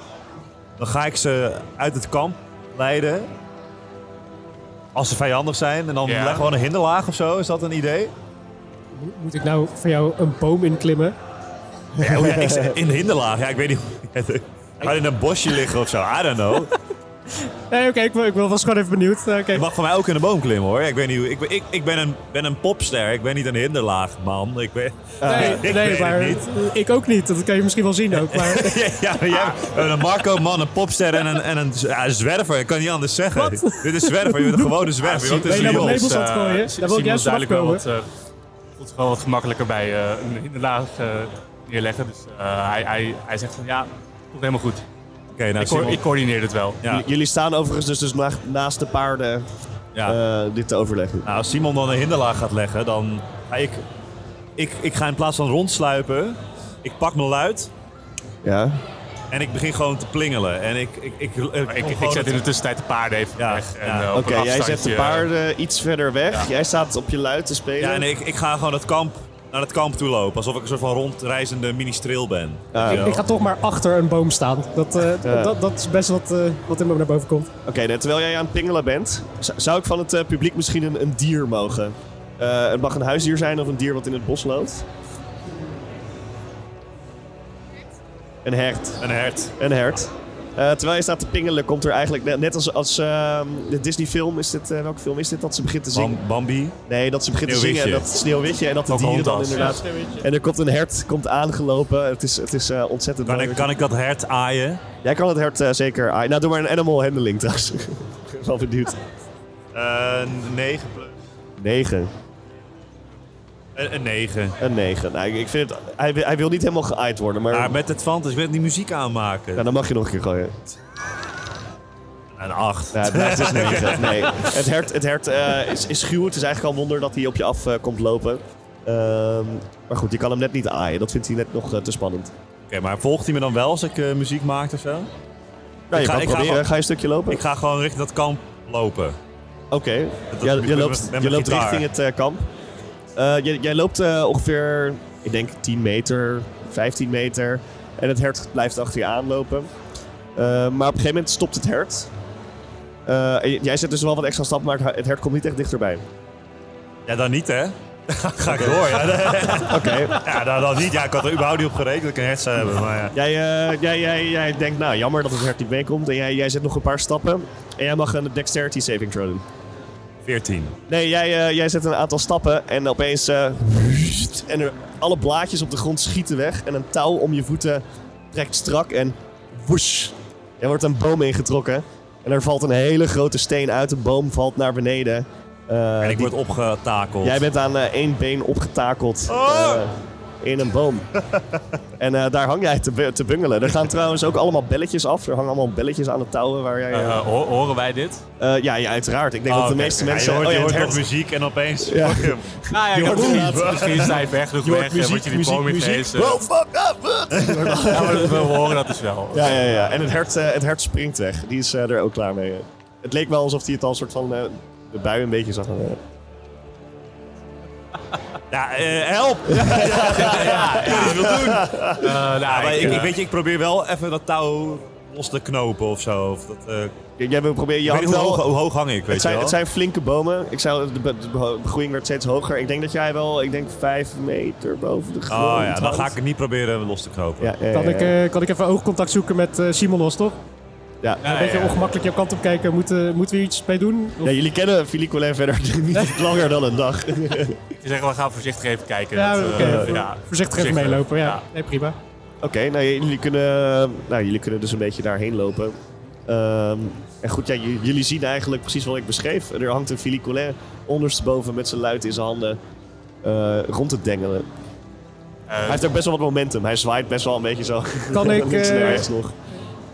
dan ga ik ze uit het kamp leiden. Als ze vijandig zijn. En dan Ja. leggen we gewoon een hinderlaag of zo. Is dat een idee? Mo- Moet ik nou voor jou een boom inklimmen? Ja, oh ja, ik *laughs* zei- in de hinderlaag. Ja, ik weet niet. hoe- *laughs* Ga in een bosje liggen of zo. I don't know. Nee, oké, ik, wil- ik wil- was gewoon even benieuwd. Eh, Oké. Je mag van mij ook in de boom klimmen hoor. Ik, weet niet hoe, ik, ben- ik, ik ben, een, ben een popster. Ik ben niet een hinderlaag man. Ik ben, *laughs* Nee, ik nee weet maar het niet. ik ook niet. Dat kan je misschien wel zien ook. Maar *laughs* Ja, ja, maar jij bent Ah. een Marco man, een popster en een, en een z- ja, een zwerver. Ik kan niet anders zeggen. Dit is zwerver. Je bent *laughs* een gewone zwerver. Je woont in Ben je nou met Lyon. labels eh, aan het gooien? Sim- Daar wil ik Simon juist duidelijk wel vanaf wat, eh, voelt zich wel wat gemakkelijker bij eh, een hinderlaag eh, neerleggen. Dus eh, hij, hij, hij zegt van ja, komt helemaal goed. Oké, nou Ik, co- Simon. ik coördineer het wel. Ja. J- Jullie staan overigens dus, dus na- naast de paarden Ja. eh, dit te overleggen. Nou, als Simon dan een hinderlaag gaat leggen, dan ga ik... Ik, ik ga in plaats van rondsluipen, ik pak mijn luid Ja? en ik begin gewoon te plingelen. En ik... Ik, ik, ik, Maar Ik, ik zet in de tussentijd de paarden even Ja, weg. en, ja. eh, op Oké, een jij zet de afstandje- paarden iets verder weg. Jij staat op je luid te spelen. Ja, en ik, ik ga gewoon het kamp, naar het kamp toe lopen. Alsof ik een soort van rondreizende ministreel ben. Ah. Weet je ik, wel? ik ga toch maar achter een boom staan. Dat, eh, Ja. dat, dat is best wat, eh, wat in me naar boven komt. Oké, nou, terwijl jij aan het pingelen bent, z- zou ik van het eh, publiek misschien een, een dier mogen? Eh, het mag een huisdier zijn of een dier wat in het bos loopt. Een hert. Een hert. Een hert. Eh, terwijl je staat te pingelen, komt er eigenlijk net, net als, als ehm, de Disney-film, is dit, eh, welke film is dit, dat ze begint te zingen? Bam- Bambi. Nee, dat ze begint te zingen en Sneeuwwitje. dat Sneeuwwitje en dat de Ook dieren dan Hondas. inderdaad. En er komt een hert, komt aangelopen. Het is, het is eh, ontzettend Kan mooi. ik, kan ik dat hert aaien? Jij kan het hert eh, zeker... aaien. Nou, doe maar een animal handling trouwens. *laughs* ik ben wel benieuwd. 9 Eh, plus. Negen. Een, 9. Een 9. Nou, ik- ik vind het, hij, wil- hij wil niet helemaal geaaid worden, maar, Ah, Maar met het fantasy, ik wil die muziek aanmaken. Nou, dan mag je nog een keer gooien. Een 8. Nou, het blijft dus 9. *laughs* Nee. Het hert, het hert eh, is, is schuw. Het is eigenlijk al een wonder dat hij op je af eh, komt lopen. Ehm, maar goed, je kan hem net niet aaien. Dat vindt hij net nog eh, te spannend. Oké, maar volgt hij me dan wel als ik eh, muziek maak of zo? Nou, je ga- kan ik ga proberen. Ga, gewoon- je een stukje lopen? Ik ga gewoon richting dat kamp lopen. Oké. dat- Ja, ik Je ben loopt, met- met je mijn loopt gitaar. richting het eh, kamp. Eh, jij, jij loopt eh, ongeveer, ik denk 10 meter, 15 meter. En het hert blijft achter je aanlopen. Eh, maar op een gegeven moment stopt het hert. Eh, en j- jij zet dus wel wat extra stap, maar het hert komt niet echt dichterbij. Ja, dan niet hè? *laughs* ga ik door, ja. *laughs* Oké. ja, dan, dan niet. Ja, ik had er überhaupt niet op gerekend dat ik een hert zou hebben. Maar ja. jij, eh, jij, jij, jij denkt, nou jammer dat het hert niet meekomt. En jij, jij zet nog een paar stappen. En jij mag een dexterity saving throw doen. 14. Nee, jij, eh, jij zet een aantal stappen en opeens. eh, en er- alle blaadjes op de grond schieten weg. En een touw om je voeten trekt strak en. Woesh! Er wordt een boom ingetrokken. En er valt een hele grote steen uit. De boom valt naar beneden. Eh, En ik die- word opgetakeld. Jij bent aan eh, één been opgetakeld Oh! eh, in een boom. *laughs* en eh, daar hang jij te, bu- te bungelen. Er gaan trouwens ook allemaal belletjes af. Er hangen allemaal belletjes aan de touwen waar jij... eh, Eh, ho- horen wij dit? eh, ja, ja, uiteraard. Ik denk Oh, dat de oké. meeste Ja, mensen... je hoort, oh, ja, je het hoort hert- ook muziek en opeens... *laughs* Ja. fuck hem. Nou ja, ik heb hoort inderdaad- muziek. Misschien is hij ver genoeg Je hoort weg en wordt je die muziek, boom muziek, ineens... muziek. eh, Oh, fuck up! ja, maar we horen dat dus wel. ja, ja, ja. En het hert, eh, het hert springt weg. Die is eh, er ook klaar mee. Het leek wel alsof hij het al een soort van... eh, de bui een beetje zag. eh, Ja, eh, *laughs* help! Ja, ja, ja, ja. Eh, nou, Maar ik, ik, ik eh, weet je, ik probeer wel even dat touw los te knopen of zo. Of dat, eh, ik Jij wil proberen... Je weet had niet hoe wel- hoog, hoe hoog hang ik, weet Het zijn, je wel? het zijn flinke bomen. Ik zei, de, be- de be- begroeiing werd steeds hoger. Ik denk dat jij wel, ik denk vijf meter boven de grond oh ja, dan hangt. ga ik het niet proberen los te knopen. Ja, ja, Kan ja, ik, ja. eh, kan ik even oogcontact zoeken met eh Simonos, toch? Ja. ja, Een beetje ja. ongemakkelijk jouw kant op kijken. Moeten, moeten we iets mee doen? Of- Ja, jullie kennen Philippe Collin verder *laughs* niet langer dan een dag. Oké, Ik zeg, we gaan voorzichtig even kijken. Ja, Dat, eh, oké, voor- ja, Voorzichtig even voorzichtig. meelopen, ja. Nee, prima. nou, jullie kunnen, nou jullie kunnen dus een beetje daarheen lopen. Ehm, en goed, ja, j- jullie zien eigenlijk precies wat ik beschreef. Er hangt een Philippe Collin ondersteboven met zijn luid in zijn handen eh, rond te dengelen. Eh, Hij heeft ook best wel wat momentum. Hij zwaait best wel een beetje zo. *laughs* Kan ik, Links en eh, rechts nog.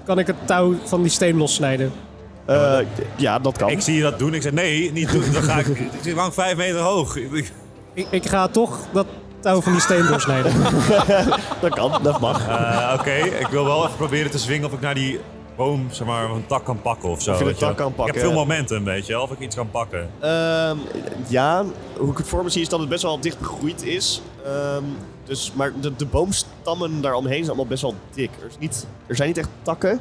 Kan ik het touw van die steen lossnijden? Eh, ja, dat kan. Ik zie je dat doen. Ik zeg nee, niet doen. Dan ga ik, *laughs* ik hang vijf meter hoog. Ik- Ik, ik ga toch dat touw van die steen doorsnijden. Dat kan, dat *laughs* mag. Eh, Oké, ik wil wel even proberen te zwingen of ik naar die boom, zeg maar, een tak kan pakken of zo. je de weet wel. tak kan Ik pakken, heb veel ja. momentum, weet je wel, of ik iets kan pakken. Ehm, ja, hoe ik het voor me zie is dat het best wel dicht begroeid is. Ehm, dus, maar de, de boomstammen daaromheen zijn allemaal best wel dik. Er, is niet, er zijn niet echt takken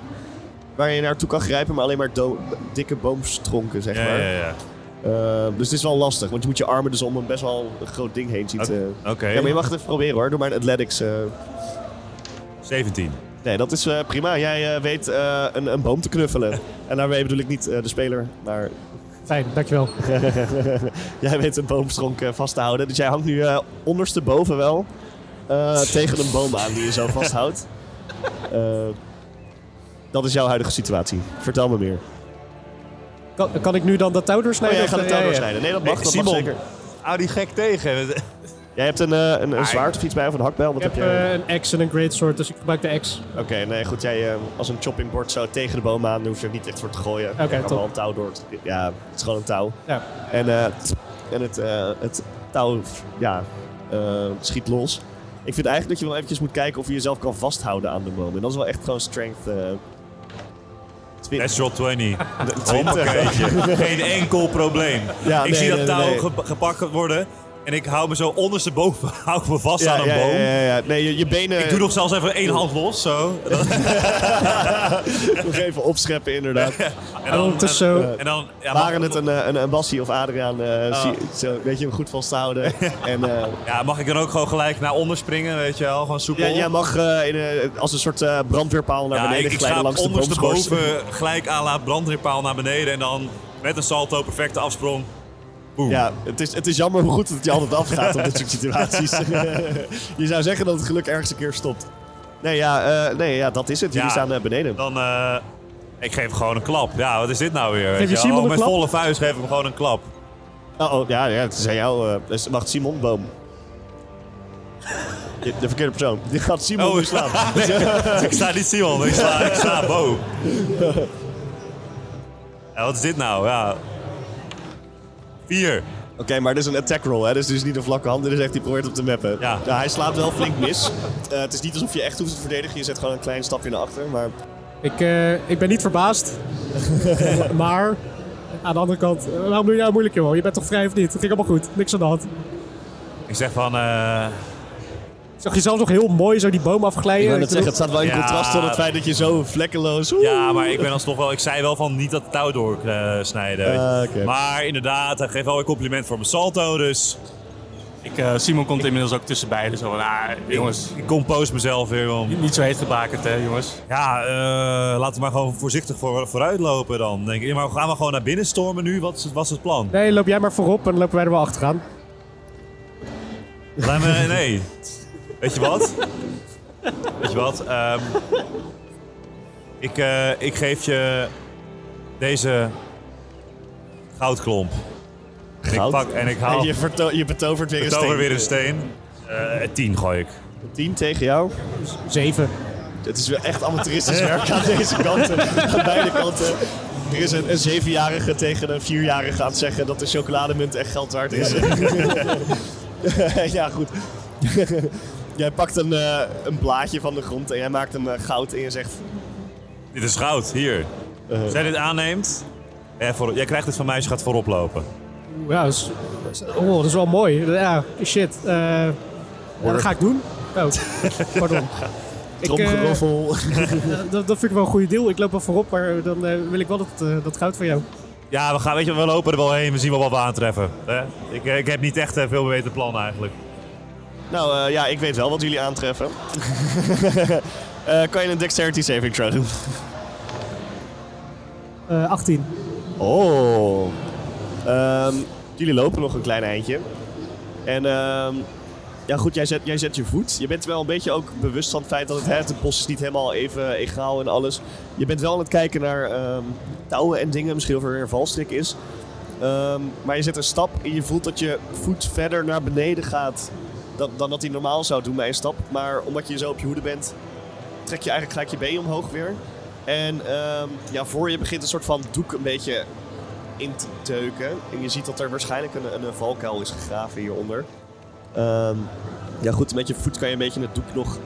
waar je naartoe kan grijpen, maar alleen maar do- dikke boomstronken, zeg Ja, maar. ja, ja. Ehm, dus het is wel lastig, want je moet je armen dus om een best wel een groot ding heen zien te... Oké, Ja, maar je mag het even proberen hoor. Doe maar een athletics. eh. 17. Nee, dat is eh, prima. Jij eh, weet eh, een, een boom te *laughs* knuffelen. en daarmee bedoel ik niet eh, de speler, maar Fijn, dankjewel. *laughs* Jij weet een boomstronk eh, vast te houden. Dus jij hangt nu eh, ondersteboven wel *laughs* eh, tegen een boom aan die je zo vasthoudt. Eh, dat is jouw huidige situatie. Vertel me meer. Kan, kan ik nu dan dat touw Oh, doorsnijden? jij Of- gaat het ja, touw ja, ja. doorsnijden. Nee, dat mag. Hey, dat Simon. mag zeker. Hou die gek tegen. Jij hebt een, eh, een, een zwaard of iets bij of een hakbel? Wat Ik heb, heb je? eh, een axe en een greatsword, dus ik gebruik de axe. Oké, nee, goed. Jij eh, als een chopping board zo tegen de boom aan, daar hoef je er niet echt voor te gooien. Oké, je kan top. wel een touw door. te- Ja, het is gewoon een touw. Ja. En, eh, t- en het, eh, het touw ja, eh, schiet los. Ik vind eigenlijk dat je wel eventjes moet kijken of je jezelf kan vasthouden aan de boom. En dat is wel echt gewoon strength. eh 20. Natural 20. *laughs* Hoppakee. Geen enkel probleem. Ja, ik nee, zie dat nee, touw nee. ge- gepakt worden en ik hou me zo ondersteboven *laughs* hou ik me vast Ja, aan een ja, boom. ja, ja, ja. Nee, je, je benen. Ik doe nog zelfs even één hand los, zo. En dan, *laughs* nog even opscheppen, inderdaad. en dan- Ondertussen zo. en dan, ja, mag, Waren het een, eh, een, een Bassie of Adriaan, eh, zie- zo, weet je, hem goed vast te houden. en, eh, Ah. *laughs* ja, mag ik dan ook gewoon gelijk naar onder springen, weet je wel? Gewoon soepel. ja, jij mag eh, in, eh, als een soort eh, brandweerpaal naar Ja, beneden ik, ik glijden ga langs de boomschors. ondersteboven gelijk à la brandweerpaal naar beneden en dan met een salto perfecte afsprong. Boom. Ja, het is, het is jammer hoe goed het je altijd afgaat op dit soort situaties. *laughs* je zou zeggen dat het geluk ergens een keer stopt. Nee, ja, eh, nee, ja dat is het. Jullie Ja. staan eh, beneden. Dan, eh, ik geef gewoon een klap. Ja, wat is dit nou weer? weet je wel? Simon Ook een met klap? volle vuist geef ik hem gewoon een *laughs* klap. Oh, oh, ja, ja, het is aan jou. eh, dus- wacht, Simon Boom. Je- De verkeerde persoon. Die gaat Simon Oh, ik slaan. sla. *laughs* Nee, ik sla niet Simon, ik sla, ik sla *laughs* Bo. Ja, wat is dit nou? Ja. Vier. Oké, maar dit is een attack roll, hè? Dus het is niet een vlakke hand. Dit is echt, die probeert op te mappen. Nou, Ja. hij slaat wel flink mis. Eh, het is niet alsof je echt hoeft te verdedigen. Je zet gewoon een klein stapje naar achter. Maar Ik, eh, ik ben niet *laughs* verbaasd. maar aan de andere kant, eh, waarom doe je nou moeilijk, joh? Je bent toch vrij of niet? Het ging allemaal goed. Niks aan de hand. Ik zeg van, eh, Ik zag jezelf nog heel mooi zo die boom afglijden. ik wil Ik net zeggen, bedoel- het staat wel in Ja. contrast tot het feit dat je zo vlekkeloos... ja, maar ik ben alsnog wel, ik zei wel van niet dat touw doorsnijden. Ah, oké. Maar inderdaad, hij geeft wel een compliment voor mijn salto, dus ik, eh, Simon komt inmiddels ook tussen beiden. Zo van, ah, jongens, ik compose mezelf weer om. niet zo heet gebakerd hè, jongens. Ja, eh, laten we maar gewoon voorzichtig voor, vooruit lopen dan. Denk ik. Ja, Maar gaan we gewoon naar binnen stormen nu? Wat is het, wat is het plan? Nee, loop jij maar voorop en dan lopen wij er wel achteraan. Laat me, nee. Weet je wat? Weet je wat? Ehm, ik, eh, ik geef je deze goudklomp. En Goud? ik pak en ik haal En je, verto- je betovert weer het over een steen. weer een steen. Eh tien gooi ik. 10 tegen jou. Zeven. Het is wel echt *laughs* amateuristisch werk aan deze kanten. Aan beide kanten. Er is een, een zevenjarige tegen een vierjarige aan het zeggen dat de chocolademunt echt geld waard is. *laughs* ja, goed. jij pakt een, eh, een blaadje van de grond en jij maakt hem eh, goud en je zegt... Dit is goud, hier. Eh. Als jij dit aanneemt, eh, voor, jij krijgt dit van mij als je gaat voorop lopen. Oeh, Ja, dat is, oh, dat is wel mooi. Ja, shit. eh, ja, dat ga ik doen. Oh, pardon. *laughs* Ik, eh, Tromgeroffel. dat, Eh, dat vind ik wel een goede deal. Ik loop wel voorop, maar dan eh, wil ik wel dat, eh, dat goud van jou. Ja, we, gaan, weet je, we lopen er wel heen, we zien wel wat we aantreffen. hè. Ik, eh, ik heb niet echt eh, veel beter plan eigenlijk. *laughs* Nou eh, ja, ik weet wel wat jullie aantreffen. *laughs* Eh, kan je een dexterity saving throw doen? Eh 18. Oh. Ehm, jullie lopen nog een klein eindje. En ehm, ja goed, jij zet, jij zet je voet. Je bent wel een beetje ook bewust van het feit dat het, hè, het bos is niet helemaal even egaal en alles. Je bent wel aan het kijken naar ehm, touwen en dingen. Misschien of er weer een valstrik is. Ehm, maar je zet een stap en je voelt dat je voet verder naar beneden gaat dan, dan dat hij normaal zou doen bij een stap. Maar omdat je zo op je hoede bent, trek je eigenlijk gelijk je been omhoog weer. En ehm, ja, voor je begint een soort van doek een beetje in te deuken. En je ziet dat er waarschijnlijk een, een, een valkuil is gegraven hieronder. Ehm, ja goed, met je voet kan je een beetje het doek nog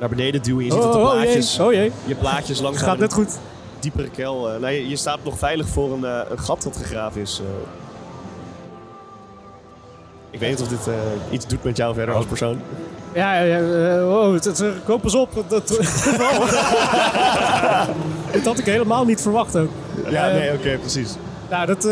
naar beneden duwen. Je ziet dat de blaadjes, jee. Oh jee. je blaadjes Het langzaam gaat net goed. diepere kel. eh, nou, je, je staat nog veilig voor een, eh, een gat dat gegraven is. eh. Ik weet niet of dit eh, iets doet met jou verder als persoon. *laughs* Ja, ja, ja, eh, wow, het, het, eh, koop eens op. Dat, *laughs* dat, dat had ik helemaal niet verwacht ook. Ja, Eh, nee, oké, precies. Nou, dat... eh,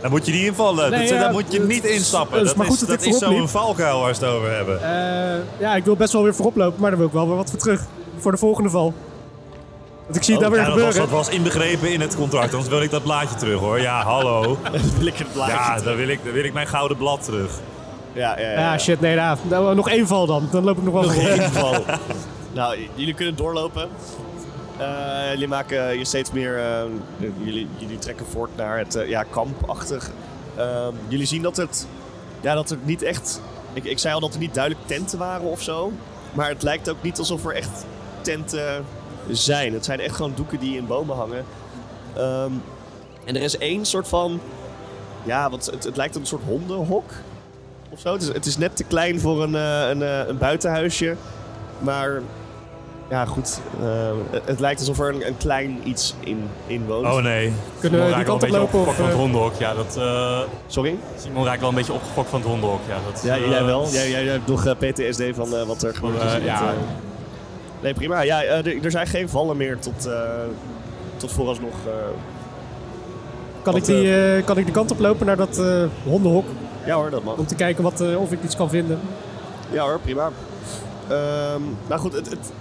Daar moet je niet invallen, Nee, dat, daar ja, moet je het- niet instappen. het is Dat maar is, goed dat dat ik is voorop zo'n liep. valkuil waar ze het over hebben. Eh, ja, ik wil best wel weer voorop lopen, maar daar wil ik wel weer wat voor terug. Voor de volgende val. Want ik zie het daar Oh, Ja, dat, weer was, dat gebeuren. was inbegrepen in het contract, anders wil ik dat blaadje terug hoor. Ja, hallo. Wil ik het blaadje *laughs* Ja, dan wil ik, dan wil ik mijn gouden blad terug. Ja, ja, ja. Ja, shit, nee, nou, nou, nog één val dan. Dan loop ik nog wel Nog voorop. één geval. nou, j- jullie kunnen doorlopen. Eh, jullie maken je steeds meer... eh, jullie, jullie trekken voort naar het eh, ja, kampachtig. Ehm, jullie zien dat het... Ja, dat er niet echt... Ik, ik zei al dat er niet duidelijk tenten waren of zo. Maar het lijkt ook niet alsof er echt tenten zijn. Het zijn echt gewoon doeken die in bomen hangen. Ehm, en er is één soort van... Ja, wat, het, het lijkt op een soort hondenhok of zo. Het is, het is net te klein voor een, eh, een, eh, een buitenhuisje. Maar ja, goed. eh, het, het lijkt alsof er een, een klein iets in, in woont. Oh nee. Kunnen we die kant op lopen? opgefokt Of, van het eh, hondenhok. Ja, dat, eh, Sorry? Simon raakt wel een beetje opgefokt van het hondenhok. Ja, dat, Ja, eh, jij wel. Jij, jij hebt nog eh, PTSD van eh, wat er gebeurd is. Eh, in ja. het, eh. Nee, prima. Ja, eh, er- er zijn geen vallen meer tot, eh, tot vooralsnog. eh. kan, ik die, eh, kan ik de kant op lopen naar dat eh, hondenhok? Ja hoor, dat mag. Om te kijken wat, eh, of ik iets kan vinden. Ja hoor, prima. Ehm, nou goed, het, het,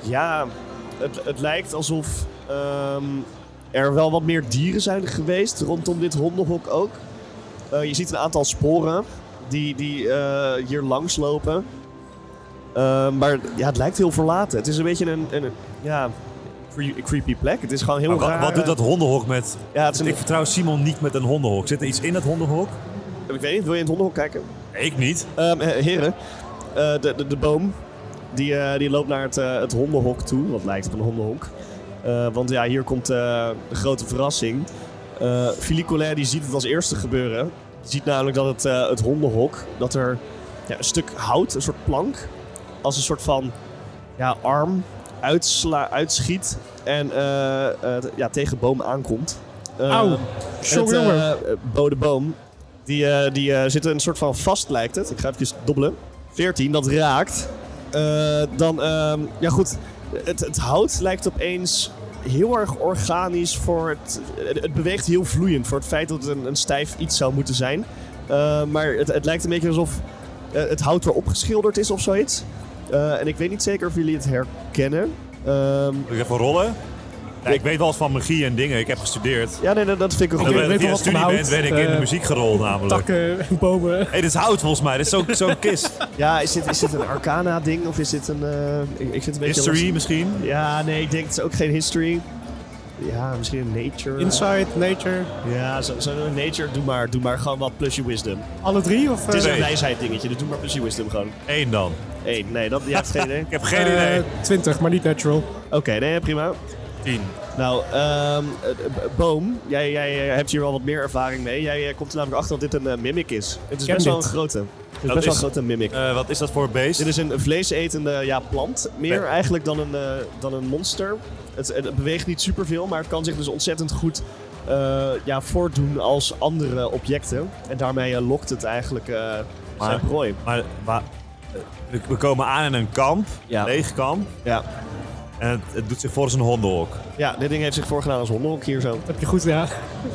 ja, het, het lijkt alsof ehm, er wel wat meer dieren zijn geweest rondom dit hondenhok ook. Eh, je ziet een aantal sporen die, die eh, hier langslopen. Ehm, maar ja, het lijkt heel verlaten. Het is een beetje een, een, ja, cre- creepy plek. Het is gewoon heel Maar wa- raar. eh, wat doet dat hondenhok met... Ja, het is een- Ik vertrouw Simon niet met een hondenhok. Zit er iets in dat hondenhok? ik weet niet, wil je in het hondenhok kijken? Ik niet. Ehm, eh, heren, eh, de, de, de boom die, eh, die loopt naar het, eh, het hondenhok toe. Wat lijkt op een hondenhok. Eh, want ja, hier komt eh, de grote verrassing. Eh Philippe Collet die ziet het als eerste gebeuren. Die ziet namelijk dat het, eh, het hondenhok, dat er ja, een stuk hout, een soort plank, als een soort van ja, arm uitsla, uitschiet en eh, eh, ja, tegen boom aankomt. Eh, Auw. en het, Zo jongen. eh, Bode Boom, die, eh, die eh, zit een soort van vast, lijkt het. Ik ga even dobbelen. 14, dat raakt. Eh, dan, ehm, ja goed, het, het hout lijkt opeens heel erg organisch voor het... Het, het beweegt heel vloeiend voor het feit dat het een, een stijf iets zou moeten zijn. Eh, maar het, het lijkt een beetje alsof eh, het hout erop geschilderd is of zoiets. Eh, en ik weet niet zeker of jullie het herkennen. Ehm, Moet ik even rollen? Ja, ik weet wel eens van magie en dingen. Ik heb gestudeerd. ja, nee, dat, dat vind ik een Omdat goede... ik weet via wel wat van studie ben, hout. ben ik in de Eh, muziekgerol namelijk. Takken *laughs* en bomen. Hé, dit is hout volgens mij. Dit is zo'n zo'n kist. Ja, is dit, is dit een Arcana-ding of is dit een... eh, ik, ik vind het een beetje History misschien? Ja, nee, ik denk het is ook geen history. Ja, misschien een nature. Inside, nature, Ja, zo, zo nature. Doe maar, doe maar gewoon wat plus je wisdom. alle drie? Of, Het is eh, een wijsheid dingetje, dus doe maar plus je wisdom gewoon. Eén dan. Eén, nee, dat, jij hebt geen idee. Ik heb geen eh, idee. 20, maar niet natural. Oké, nee, prima. Tien. Nou, ehm, eh, b- Boom, jij, jij eh, hebt hier wel wat meer ervaring mee. Jij eh, komt er namelijk achter dat dit een eh, mimic is. Het is Ken best wel een dit. grote. Het is Dat best wel is- een grote mimic. Eh, wat is dat voor Dit beest? is een vleesetende ja, plant, meer Nee. eigenlijk dan een, eh, dan een monster. Het, het beweegt niet superveel, maar het kan zich dus ontzettend goed eh, ja, voordoen als andere objecten. En daarmee eh, lokt het eigenlijk eh Maar- zijn prooi. Maar, wa- eh, we- we komen aan in een kamp, Ja. leeg kamp. Ja. En het, het doet zich voor als een hondenhok. ja, dit ding heeft zich voorgedaan als hondenhok hier zo. Heb je goed, ja.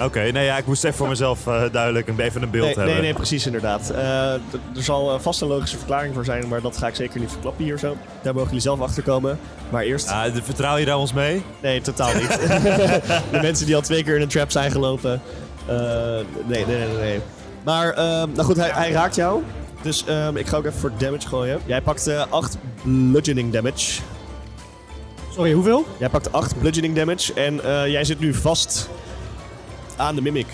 Oké, nee, ja, ik moest even voor mezelf eh, duidelijk een, even een beeld Nee, hebben. nee, nee, precies inderdaad. Eh, d- er zal eh, vast een logische verklaring voor zijn, maar dat ga ik zeker niet verklappen hier zo. Daar mogen jullie zelf achter komen. Maar eerst... Ah, de- vertrouw je daar ons mee? Nee, totaal *laughs* niet. de mensen die al twee keer in een trap zijn gelopen. Eh, nee, nee, nee, nee, nee. Maar, ehm, nou goed, hij, hij raakt jou. Dus ehm, ik ga ook even voor damage gooien. Jij pakt 8 bludgeoning damage. Sorry, hoeveel? Jij pakt 8 bludgeoning damage en eh, jij zit nu vast aan de mimic.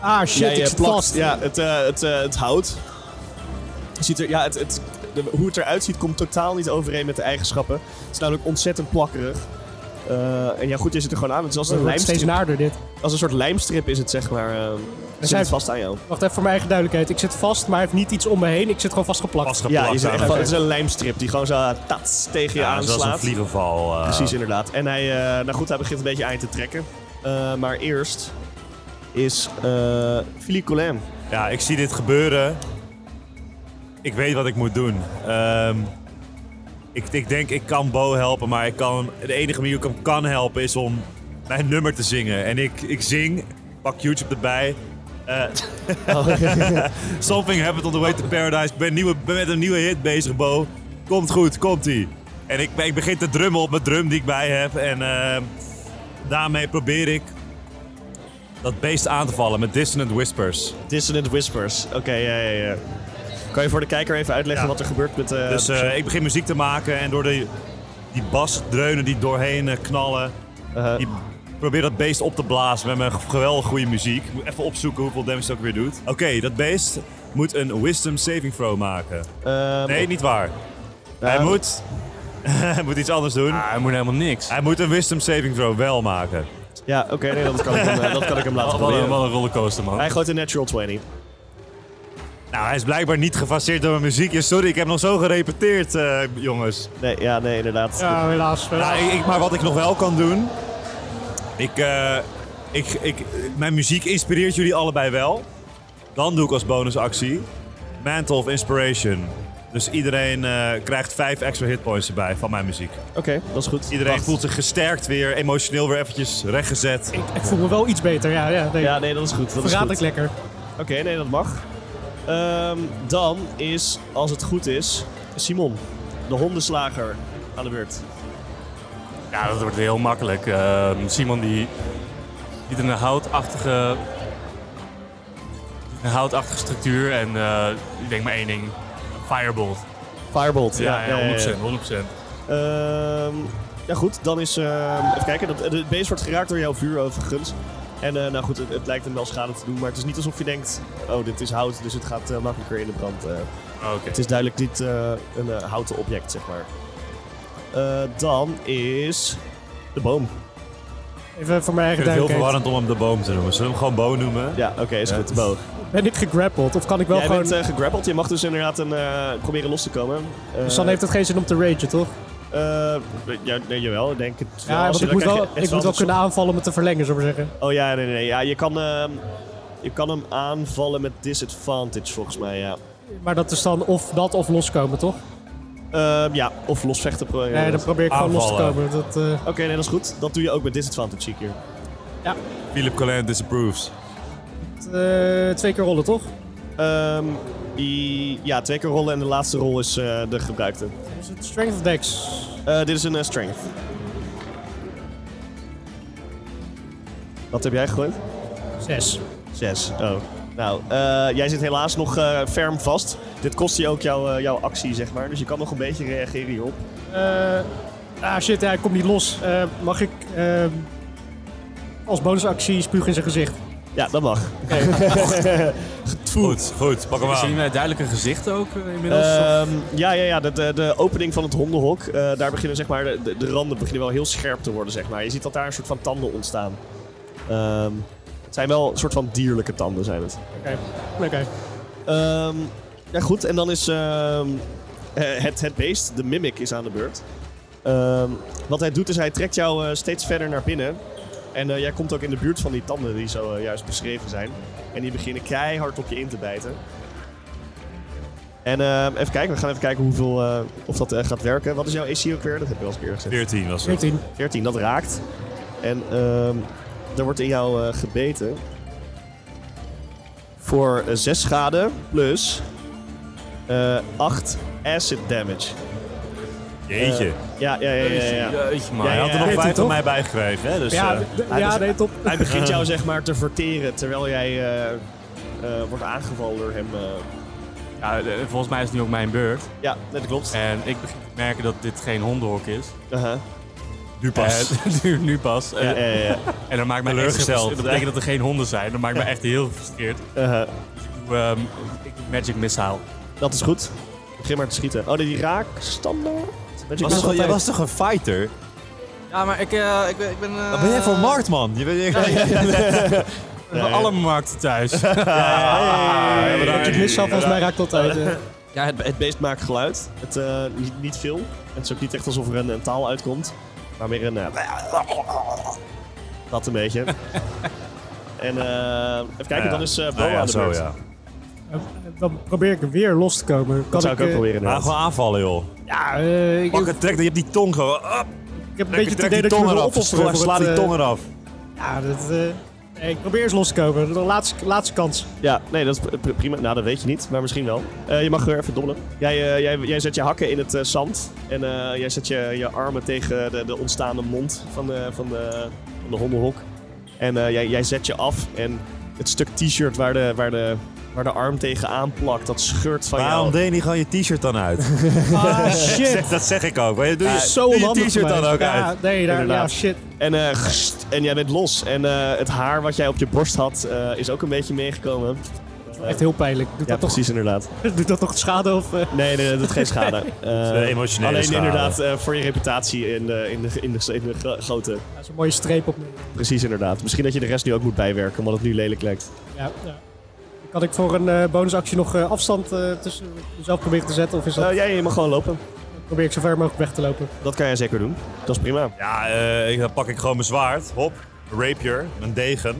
Ah, shit, Jij, eh, ik zit plakt- vast. Oh, Ja, het, eh, het, eh, het hout. Ziet er, ja, het, het, de- hoe het eruit ziet komt totaal niet overeen met de eigenschappen. Het is namelijk ontzettend plakkerig. Eh, en ja, goed, je zit er gewoon aan. Het is als Het een wordt lijmstrip. steeds naarder, dit. Als een soort lijmstrip is het, zeg maar. eh zit zijn- het vast aan jou. Wacht even voor mijn eigen duidelijkheid. Ik zit vast, maar hij heeft niet iets om me heen. Ik zit gewoon vastgeplakt. Vastgeplakt Ja, je zit aan echt een- van, het is een lijmstrip die gewoon zo eh, tats tegen je Ja, zoals een aanslaat. vliegenval. eh. Precies, inderdaad. En hij, eh, nou goed, hij begint een beetje aan je te trekken. Eh, maar eerst is eh Philippe Collin. Ja, ik zie dit gebeuren. Ik weet wat ik moet doen. Ehm, ik, ik denk, ik kan Bo helpen, maar ik kan, de enige manier hoe ik hem kan helpen is om mijn nummer te zingen. En ik, ik zing, pak YouTube erbij. Eh, *laughs* Something happened on the way to paradise. Ik ben, nieuwe, ben met een nieuwe hit bezig, Bo. Komt goed, komt-ie. En ik, ik begin te drummen op mijn drum die ik bij heb. En ehm, daarmee probeer ik dat beest aan te vallen met Dissonant Whispers. Dissonant Whispers. Oké, ja, ja, ja. Kan je voor de kijker even uitleggen Ja. wat er gebeurt met... eh, Dus eh, ik begin muziek te maken en door die, die basdreunen die doorheen eh, knallen, eh, die probeer dat beest op te blazen met mijn geweldig goede muziek. Ik moet even opzoeken hoeveel damage dat ook weer doet. Oké, dat beest moet een wisdom saving throw maken. ehm, Nee, niet waar. Hij nou, moet, *laughs* hij moet iets anders doen. Ah, hij moet helemaal niks. Hij moet een wisdom saving throw wel maken. Ja, oké, nee, dat, kan ik hem, eh, dat kan ik hem laten Wat een, proberen. wat een rollercoaster, man. Hij gooit een natural 20. Nou, hij is blijkbaar niet gefaseerd door mijn muziek. Ja, sorry, ik heb nog zo gerepeteerd, eh, jongens. Nee, ja, nee, inderdaad. Ja, helaas. Ja, Nou, ik, ik- maar wat ik nog wel kan doen. Ik, eh, ik, ik, mijn muziek inspireert jullie allebei wel. Dan doe ik als bonusactie Mantle of Inspiration. Dus iedereen eh, krijgt vijf extra hitpoints erbij van mijn muziek. Oké, dat is goed. Iedereen Wacht. voelt zich gesterkt weer, emotioneel weer eventjes rechtgezet. Ik, ik voel me wel iets beter, ja. ja, nee. Ja, nee, dat is goed. Dat is Verraad goed. ik lekker. Oké, nee, dat mag. Ehm, dan is, als het goed is, Simon, de hondenslager, aan de beurt. Ja, dat wordt heel makkelijk. Ehm, Simon die ziet een houtachtige, een houtachtige structuur en eh, ik denk maar één ding. Firebolt. Firebolt. Ja, ja, 100%. 100%. Ehm, ja, goed. Dan is, ehm, even kijken, dat, het beest wordt geraakt door jouw vuur overigens. En eh, nou goed, het, het lijkt hem wel schade te doen, maar het is niet alsof je denkt, oh, dit is hout, dus het gaat eh, makkelijker in de brand. eh. Oké. het is duidelijk niet eh, een eh, houten object, zeg maar. Eh, dan is de boom. Even voor mijn Ik vind het eigen heel duidelijkheid. verwarrend om hem de boom te noemen. Zullen we hem gewoon Bo noemen? Ja, oké, is goed, de boom. Ben ik gegrappeld? Of kan ik wel Jij gewoon... bent eh, gegrappeld. Je mag dus inderdaad een, eh, proberen los te komen. Eh, Dus dan heeft het geen zin om te ragen, toch? eh, ja, nee, jawel, ik denk het Ja, want Als je- ik dan moet krijg wel, je ik moet wel advantage kunnen aanvallen om het te verlengen, zou ik maar zeggen. op- Oh ja, nee, nee, nee. Ja, je kan, ehm, je kan hem aanvallen met disadvantage, volgens mij, ja. Maar dat is dan of dat of loskomen, toch? Ehm, ja, of losvechten proberen. Nee, dan Oké, probeer ik gewoon los te aanvallen. komen. Dat, eh, nee, dat is goed. Dat doe je ook met disadvantage, zie ik hier. Philip Collin disapproves. eh, twee keer rollen, toch? Ehm, die, ja, twee keer rollen en de laatste rol is eh, de gebruikte. Is het strength of dex? Eh, dit is een eh, strength. Wat heb jij gegooid? Zes. Zes. Oh. Nou, eh, jij zit helaas nog eh, ferm vast. Dit kost je ook jouw, eh, jouw actie, zeg maar. Dus je kan nog een beetje reageren hierop. Eh, ah shit, ja, ik kom niet los. Eh, mag ik... ehm, als bonusactie spuug in zijn gezicht. Ja, dat mag. Goed, goed, pak hem Zien aan. wij duidelijke gezichten ook eh, inmiddels? Of- Ehm, Ja, ja, ja de, de, de opening van het hondenhok, eh, daar beginnen zeg maar, de, de- de randen beginnen wel heel scherp te worden. Zeg maar. Je ziet dat daar een soort van tanden ontstaan. Ehm, het zijn wel een soort van dierlijke tanden, zijn het. Oké. Oké. Ehm, ja, goed. En dan is ehm, eh, het, het beest, de mimic, is aan de beurt. Ehm, wat hij doet is hij trekt jou eh, steeds verder naar binnen. En eh, jij komt ook in de buurt van die tanden die zo eh, juist beschreven zijn. En die beginnen keihard op je in te bijten. En ehm, even kijken, we gaan even kijken hoeveel, eh, of dat eh, gaat werken. Wat is jouw AC ook weer? Dat heb je al eens een keer gezegd. 14 was het. 14. 14, dat raakt. En ehm er wordt in jou eh, gebeten. Voor 6 schade plus 8 acid damage. Jeetje. Ja, ja, ja, ja. ja, ja. Jeetje, man. hij had er nog 14 vijf van toch? mij bijgekregen, hè? Dus, Ja, eh, d- hij ja was- nee, top. Hij begint *laughs* jou zeg maar te verteren terwijl jij eh, eh, wordt aangevallen door hem. eh. Ja, eh, volgens mij is het nu ook mijn beurt. Ja, dat Eh. klopt. En ik begin te merken dat dit geen hondenhok is. Aha. nu pas. Eh, *laughs* nu, nu pas. Eh, Ja, ja, ja. En dat maakt mij echt Teleurgesteld. Dat betekent dat er geen honden zijn. Dat maakt me echt heel gefrustreerd. Aha. Ik doe, ehm, ik doe Magic Missile. Uh-huh. Dat is goed. Begin maar te schieten. Oh, nee, die raak standaard. Magic Was toch, missile jij attack. was toch een fighter? Ja, maar ik, eh, ik, ben... Wat ben jij voor markt, man? Je bent Van alle markten *laughs* thuis. Nou, ja, Want je mist volgens mij raakt altijd. eh. Ja, het, het beest maakt geluid. Het, eh, niet, niet veel. Het is ook niet echt alsof er een, een taal uitkomt. Maar meer een... eh, dat een *laughs* beetje. en eh, even kijken, dan is eh Bo aan de zo, beurt. Nou ja. Dan probeer ik er weer los te komen. Kan Dat zou ik ook eh, proberen. Maar inderdaad. gewoon aanvallen, joh. Ja, eh, ik, Pak ik het trek, je hebt die tong gewoon. Op, heb een trek, beetje het trek idee die dat ik me tong wil eraf. opofferen. Sla, voor sla het, die eh, tong eraf. Ja, dat, eh, nee, ik probeer eens los te komen. De laatste, laatste kans. Ja, nee, dat is pr- pr- prima. Nou, dat weet je niet, maar misschien wel. Eh, je mag weer even dobbelen. Jij, eh, jij, jij zet je hakken in het eh, zand. En eh, jij zet je, je armen tegen de, de ontstaande mond van de, van de, van de hondenhok. En eh, jij, jij zet je af. En het stuk t-shirt waar de, waar, de, waar de arm tegen aanplakt, dat scheurt van Waarom jou. deed je niet gewoon je t-shirt dan uit? Ah, shit. Zeg, dat zeg ik ook. Weet je, Doe je, Zo doe je onhandig t-shirt van mij. dan ook ja, uit. Nee, daar, ja, Inderdaad. shit. En, eh, gst, en jij bent los. En eh, het haar wat jij op je borst had, eh, is ook een beetje meegekomen. Echt heel pijnlijk. Doet, Ja, dat, precies, inderdaad. toch, *laughs* doet dat toch schade? Of, eh, Nee, nee, dat is geen *laughs* schade. Eh, De emotionele Alleen schade. inderdaad eh, voor je reputatie in de, in de, in de, in de gro- grote. dat is een mooie streep op me. Precies inderdaad. Misschien dat je de rest nu ook moet bijwerken, omdat het nu lelijk lijkt. Ja, ja. Kan ik voor een eh, bonusactie nog eh, afstand eh, tussen mezelf proberen te zetten? Of is dat, Eh, jij je mag gewoon lopen. probeer ik zo ver mogelijk weg te lopen? Dat kan jij zeker doen. Dat is prima. Ja, eh, ik- dan pak ik gewoon mijn zwaard. Hop, mijn rapier, mijn degen.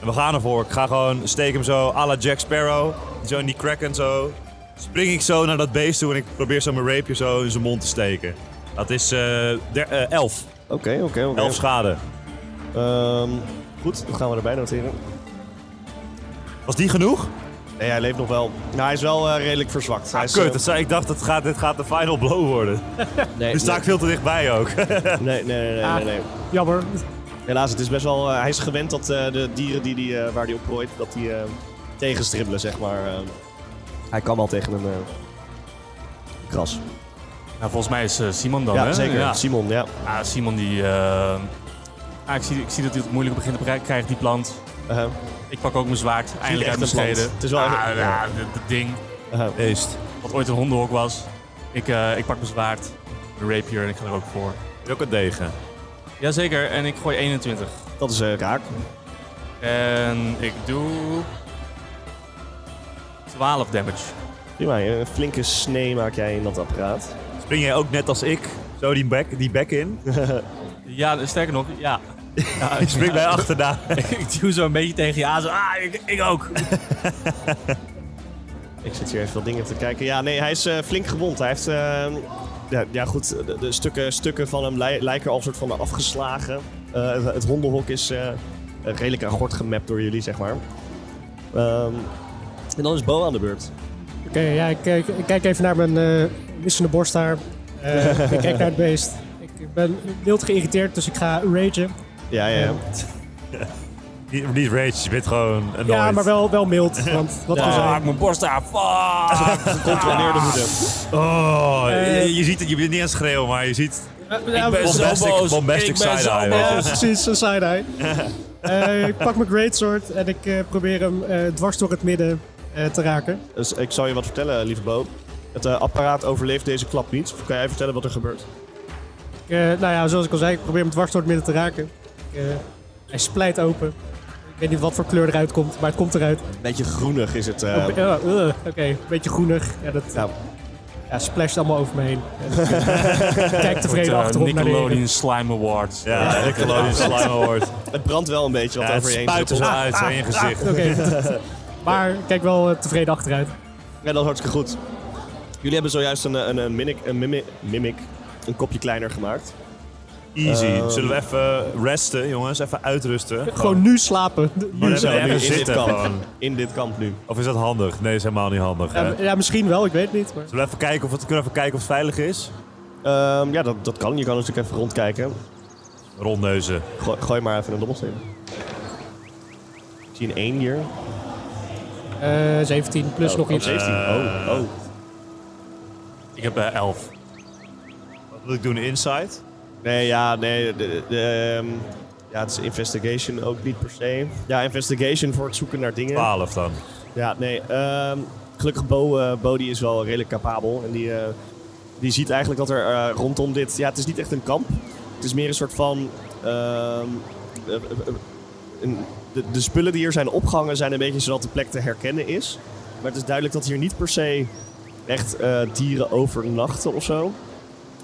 En we gaan ervoor. Ik ga gewoon, steek hem zo à la Jack Sparrow. Zo in die kraken zo. Spring ik zo naar dat beest toe en ik probeer zo mijn rapier zo in zijn mond te steken. Dat is 11. elf. Oké, oké, oké. Elf schade. Ehm, Goed, dan gaan we erbij noteren. Was die genoeg? Nee, hij leeft nog wel. Nou, hij is wel eh, redelijk verzwakt. Hij is, Kut, eh, dat zei, ik dacht, dat gaat, dit gaat de final blow worden. nee, Nu sta ik veel te dichtbij ook. *laughs* nee, nee, nee, nee, nee, nee. Ah, Jammer. Helaas, het is best wel. eh, hij is gewend dat eh, de dieren die, die, eh, waar hij op prooit, dat die eh, tegenstribbelen, zeg maar. eh. hij kan wel tegen een eh, kras. Nou, volgens mij is eh, Simon dan, ja, hè? zeker. Ja. Simon, ja. Ah, Simon die... eh, ah, ik, zie, ik zie dat hij het moeilijk begint te bereik- krijgen, die plant. Uh-huh. Ik pak ook mijn zwaard, eindelijk echt uit mijn een plant. schreden. Het is wel echt- ah, ja, dit- dit ding, eh, Beest. wat ooit een hondenhok was. Ik, eh, ik pak mijn zwaard, mijn rapier en ik ga er ook voor. Ook een degen. Jazeker, en ik gooi 21. Dat is eh, raak. En ik doe... 12 damage. Prima, een flinke snee maak jij in dat apparaat. Spring jij ook net als ik zo die bek, die bek *laughs* in? Ja, sterker nog, ja. ja Ik spring bij *laughs* achterna. *laughs* ik duw zo een beetje tegen je aan. Zo, ah, ik, ik ook. Ik zit hier even wat dingen te kijken. Ja, nee, hij is eh, flink gewond. Hij heeft. eh, ja, ja, goed, de, de stukken, stukken van hem lij- lijken al soort van afgeslagen. Eh, het, het hondenhok is eh, redelijk aan gort gemapt door jullie, zeg maar. Ehm, en dan is Bo aan de beurt. Oké, ja, ik, eh, ik, ik kijk even naar mijn eh missende borsthaar. Eh, ik kijk naar het beest. Ik ben wild geïrriteerd, dus ik ga ragen. Ja, ja, ja. Niet, niet rage, je bent gewoon annoyed. Ja, maar wel, wel mild. Want wat Ah, we haak zijn. mijn borst aan. Fuck. Gecontroleerde woede. Oh, Eh, je, je ziet het, je bent niet aan het schreeuwen, maar je ziet ja, ben we- zo Bombastic- boos. bombastic Ik ben zo side-eye, boos. Ja, precies, een side-eye. Eh, ik pak mijn greatsword en ik eh, probeer hem eh, dwars door het midden eh, te raken. Dus ik zal je wat vertellen, lieve Bo. Het eh, apparaat overleeft deze klap niet. Of Kan jij vertellen wat er gebeurt? Ik, eh, nou ja, zoals ik al zei, ik probeer hem dwars door het midden te raken. Ik, eh, hij splijt open. Ik weet niet wat voor kleur eruit komt, maar het komt eruit. Een beetje groenig is het. eh, Oh, eh, eh, Oké, een beetje groenig. Ja, dat Ja. ja. splasht allemaal over me heen. En ik, eh, Kijk Wordt, tevreden eh, achterop naar de heren. Nickelodeon Slime Awards. Ja, ik geloof je slime hoort. het brandt wel een beetje wat Ja, het over je heen spuit er druppelt. zo uit, zo in je gezicht. Oké. maar ik kijk wel eh, tevreden achteruit. Ja, dat is hartstikke goed. Jullie hebben zojuist een, eh, een, een, mimic, een mimic, mimic een kopje kleiner gemaakt. Easy. Ehm. Zullen we even resten, jongens? Even uitrusten? Gewoon nu slapen. Oh. Maar Nu even, zo. nu even in dit zitten kamp. gewoon. In dit kamp nu. Of is dat handig? Nee, is helemaal niet handig. hè? Ja, ja, misschien wel, ik weet het niet. Maar... Zullen we even kijken of het, kunnen we even kijken of het veilig is? Ehm, ja, dat, dat kan. Je kan natuurlijk even rondkijken. Rondneuzen. Gooi, gooi maar even een dobbelsteen. Ik zie een 1 hier. Eh, 17 plus nog iets. 17. Oh, oh. Ik heb eh, 11. Wat wil ik doen? Inside? Nee, ja, nee. de- de- de, ehm, ja, het is investigation ook niet per se. Ja, investigation voor het zoeken naar dingen. 12 dan. Ja, nee. ehm, gelukkig Bo, eh, Bo die is wel redelijk capabel. En die, eh, die ziet eigenlijk dat er eh, rondom dit... Ja, het is niet echt een kamp. Het is meer een soort van... ehm, eh, eh, eh, een- de, de spullen die hier zijn opgehangen zijn een beetje zodat de plek te herkennen is. Maar het is duidelijk dat hier niet per se echt eh, dieren overnachten of zo.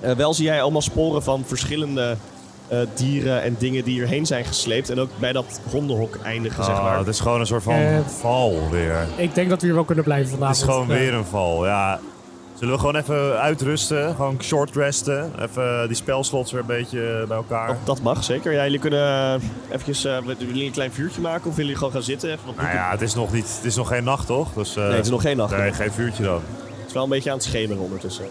Eh, wel zie jij allemaal sporen van verschillende eh, dieren en dingen die hierheen zijn gesleept. En ook bij dat hondenhok eindigen, zeg Oh, maar. het is gewoon een soort van Eh. val weer. Ik denk dat we hier wel kunnen blijven eh, Het vanavond. is gewoon Ja. weer een val, ja. Zullen we gewoon even uitrusten? Gewoon short resten? Even die spelslots weer een beetje bij elkaar? Oh, Dat, dat mag zeker. Ja, jullie kunnen eventjes, eh, willen jullie een klein vuurtje maken of willen jullie gewoon gaan zitten? Even wat Nou ja, het is nog, niet, het is nog geen nacht, toch? Dus, eh, nee, het is nog geen nacht. Nee, geen vuurtje dan. Het is wel een beetje aan het schemeren ondertussen.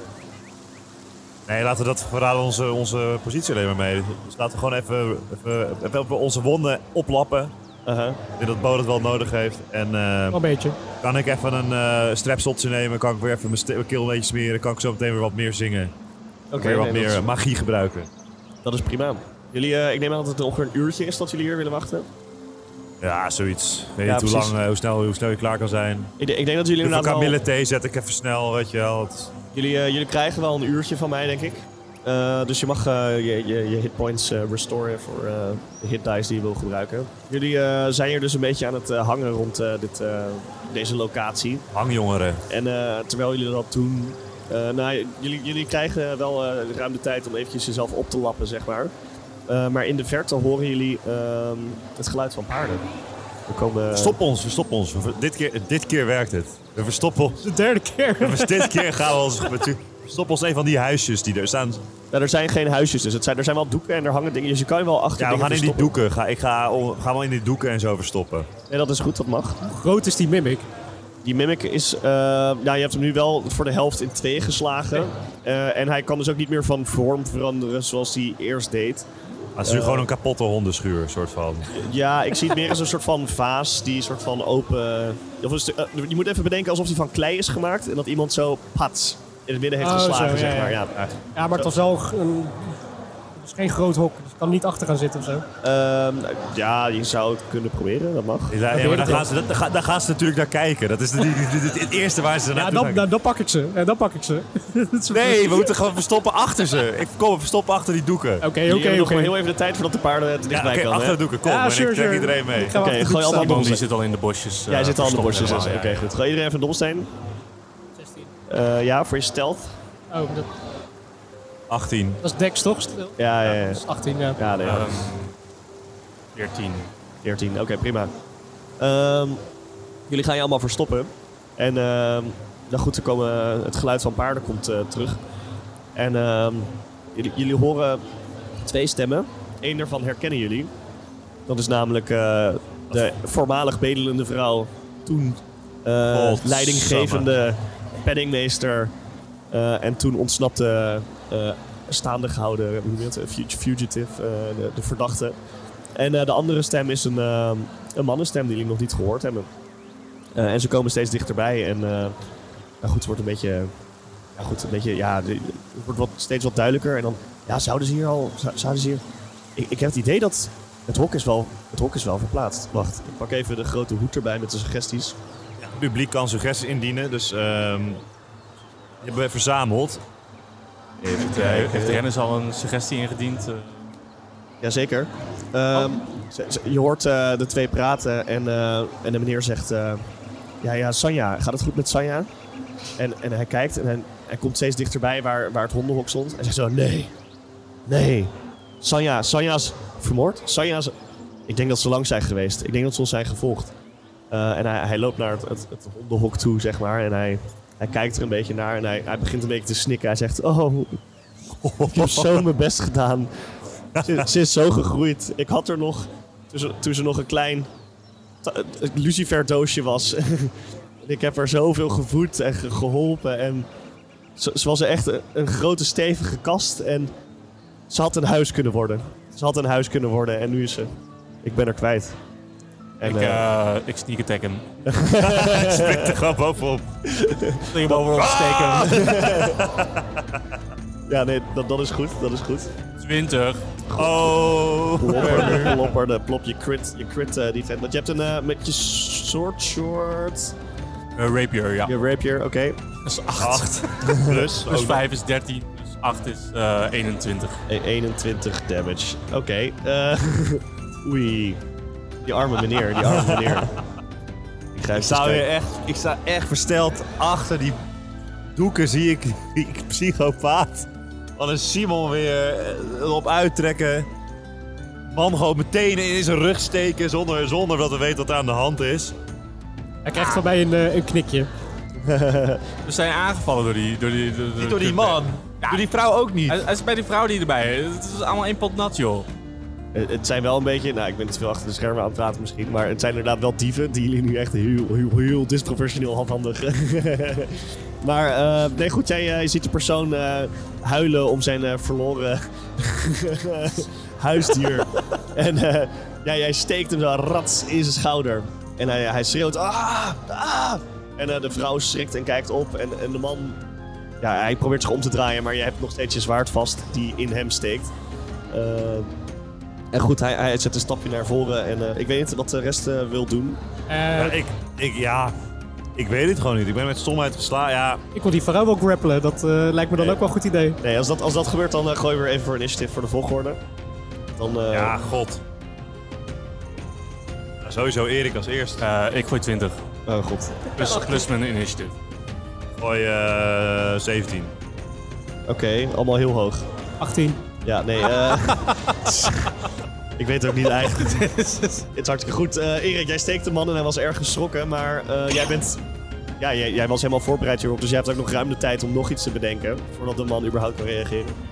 Nee, laten we dat verraden onze, onze positie alleen maar mee. Dus laten we gewoon even, even, even onze wonden oplappen. Uh-huh. Ik denk dat Bo dat wel nodig heeft. En eh, Wel een beetje. kan ik even een eh strepseltje nemen? Kan ik weer even mijn, st- mijn keel een beetje smeren? Kan ik zo meteen weer wat meer zingen? Oké, weer wat nee, meer eh, Dat, magie gebruiken? is- dat is prima. Jullie, eh, ik neem aan dat het ongeveer een uurtje is dat jullie hier willen wachten. Ja, zoiets. Ik weet Ja, niet hoe, precies. nou- lang, eh, hoe, snel, hoe snel je klaar kan zijn. Ik, denk- ik denk dat jullie Even inderdaad wel, kamille thee zet ik even snel, weet je wel. Het is- jullie, eh, jullie krijgen wel een uurtje van mij, denk ik. Eh, dus je mag eh, je, je, je hitpoints eh, restoren voor eh, de hit dice die je wil gebruiken. Jullie eh, zijn hier dus een beetje aan het eh, hangen rond eh, dit, eh, deze locatie. Hangjongeren. En eh, terwijl jullie dat doen, eh, nou, jullie, jullie krijgen wel eh, ruim de tijd om eventjes jezelf op te lappen, zeg maar. Eh, maar in de verte horen jullie ehm, het geluid van paarden. Er komen, Stop ons, verstop ons. We ver- Dit keer, dit keer werkt het. We verstoppen ons. De derde keer. Dus dit keer gaan we ons... met- Verstop ons een van die huisjes die er staan. Nou, er zijn geen huisjes, dus het zijn, er zijn wel doeken en er hangen dingen. Dus je kan je wel achter Ja, we dingen gaan in die verstoppen. doeken. Ga, ik ga, on- gaan we in die doeken en zo verstoppen. Nee, dat is goed, dat mag. Hoe groot is die mimic? Die mimic is... eh, nou, je hebt hem nu wel voor de helft in twee geslagen. Eh, en hij kan dus ook niet meer van vorm veranderen zoals hij eerst deed. Het is nu gewoon een kapotte hondenschuur, soort van. Ja, ik zie het meer als een soort van vaas die een soort van open. Of een stu- eh, je moet even bedenken alsof die van klei is gemaakt en dat iemand zo pats in het midden heeft Oh, geslagen, zo, zeg ja, ja. maar. Ja. Ja, maar het was wel g- een... Het is geen groot hok, dus ik kan niet achter gaan zitten of zo. Ehm, ja, je zou het kunnen proberen, dat mag. Ja, maar daar gaan, ze, dat- daar, gaan, daar gaan ze natuurlijk naar kijken. Dat is het, het- het- het eerste waar ze Ja, naar dan, kijken. dan, dan pak ik ze. Ja, dan pak ik ze. *laughs* Dat is- Nee, we moeten gewoon verstoppen achter ze. Ik kom, we verstoppen achter die doeken. Oké, Jullie hebben oké, nog maar heel oké. even de tijd voordat de paarden te Ja, dichtbij oké, komen. achter hè? de doeken, kom. Ja, en sure, ik trek sure. iedereen mee. Ik ga wel Oké, achter de gooi doeken allemaal staan. Iemand die Dobbelsteen. zit al in de bosjes. eh, Jij zit al aan de verstopt borstjes. dus, Oké, helemaal, ja. goed. Ga iedereen even een dobbelsteen? Eh, ja, voor je stealth. Oh, dat, 18. dat is Dex toch? Stil. Ja, ja, ja. Dat is 18, ja. ja nee, Ehm, 14. 14. Oké, prima. Ehm, jullie gaan je allemaal verstoppen. En ehm nou goed, er komen, het geluid van paarden komt eh, terug. En ehm, jullie, jullie horen twee stemmen. Eén daarvan herkennen jullie. Dat is namelijk eh, de voormalig bedelende vrouw. Toen eh, Godsamme. leidinggevende paddingmeester. eh, en toen ontsnapte, eh, staande gehouden, hoe heet het, fug- fugitive, eh, de, de verdachte. En eh, de andere stem is een, eh, een mannenstem die jullie nog niet gehoord hebben. Eh, en ze komen steeds dichterbij. En eh, nou goed, het wordt een beetje ja, goed, een beetje, ja, de- het wordt wat, steeds wat duidelijker. En dan, ja, zouden ze hier al, zou- zouden ze hier... Ik, ik heb het idee dat het hok is wel, het hok is wel verplaatst. Wacht, Ik pak even de grote hoed erbij met de suggesties. Het publiek kan suggesties indienen, dus ehm die hebben we verzameld. *laughs* Even kijken. Heeft Dennis al een suggestie ingediend? eh? Jazeker. Ehm, ze- ze- Je hoort eh, de twee praten en, eh, en de meneer zegt... eh, ja, ja, Sanja, gaat het goed met Sanja? En, en hij kijkt en hij, hij komt steeds dichterbij waar, waar het hondenhok stond. En zegt zo, nee, nee. Sanja, Sanja is vermoord. Sanja is... Ik denk dat ze lang zijn geweest. Ik denk dat ze ons zijn gevolgd. Eh, en hij, hij loopt naar het, het, het hondenhok toe, zeg maar. En hij, hij kijkt er een beetje naar en hij, hij begint een beetje te snikken. Hij zegt, oh, ik heb zo mijn best gedaan. Ze, ze is zo gegroeid. Ik had er nog, toen ze, toen ze nog een klein ta- eh, luciferdoosje was. *laughs* En ik heb haar zoveel gevoed en ge- geholpen. En ze, ze was echt een, een grote stevige kast. En ze had een huis kunnen worden. Ze had een huis kunnen worden en nu is ze... Ik ben er kwijt. En, ik, eh, eh, ik sneak attack hem. Springt er gewoon bovenop. Ik wil hem over ons steken. ja, nee, dat, dat is goed. Dat is goed. 20. Oh. Plopper, *laughs* plopper, de plop, je crit, je crit eh, defense. Want je hebt een, eh, met je sword short, Eh, rapier, ja. je rapier, oké. *laughs* Plus 8. Dus Plus. Plus 5 Dus is 13. Plus 8 is eh, 21. E- 21 damage. Oké. eh, *laughs* oei. Die arme meneer, die arme *laughs* meneer. Ik grijp Ik sta, de weer steek. echt, ik sta echt versteld achter die doeken zie ik *laughs* die psychopaat. Wat een Simon weer eh, erop uittrekken. Man gewoon meteen in zijn rug steken zonder, zonder dat we weten wat er aan de hand is. Hij krijgt van mij een, eh, een knikje. We zijn aangevallen door die... Door die, door, Niet door die man. Door die vrouw ook niet. Hij, hij is bij die vrouw die erbij is. Het is allemaal één pot nat, joh. Eh, Het zijn wel een beetje, nou ik ben te veel achter de schermen aan het praten misschien, maar het zijn inderdaad wel dieven die jullie nu echt heel, heel, heel disproportioneel handhandig. *laughs* maar eh, nee goed, jij eh, je ziet de persoon eh, huilen om zijn eh, verloren *laughs* huisdier. en eh, ja, jij steekt hem zo rats in zijn schouder. En hij, hij schreeuwt, ah, ah. En eh, de vrouw schrikt en kijkt op en, en de man, ja hij probeert zich om te draaien, maar je hebt nog steeds je zwaard vast die in hem steekt. Ehm, en goed, hij, hij zet een stapje naar voren en eh, ik weet niet wat de rest eh, wil doen. Eh, Ja, ik, ik, ja, ik weet het gewoon niet. Ik ben met stomheid geslagen. Ja, ik wil die vrouw wel grappelen. Dat eh, lijkt me dan ook wel een goed idee. Nee, als dat, als dat gebeurt, dan eh, gooi we weer even voor initiative voor de volgorde. Dan, eh, ja, god. Nou, sowieso Erik als eerste. Eh, ik gooi 20. Oh god. Plus, plus mijn initiative. Gooi eh, 17. Oké, allemaal heel hoog. 18. Ja, nee. eh, *laughs* ik weet het ook niet eigenlijk. *laughs* Het is hartstikke goed. Eh, Erik, jij steekt de man en hij was erg geschrokken, maar eh, jij bent... Ja, jij, jij was helemaal voorbereid hierop, dus jij hebt ook nog ruim de tijd om nog iets te bedenken. Voordat de man überhaupt kan reageren.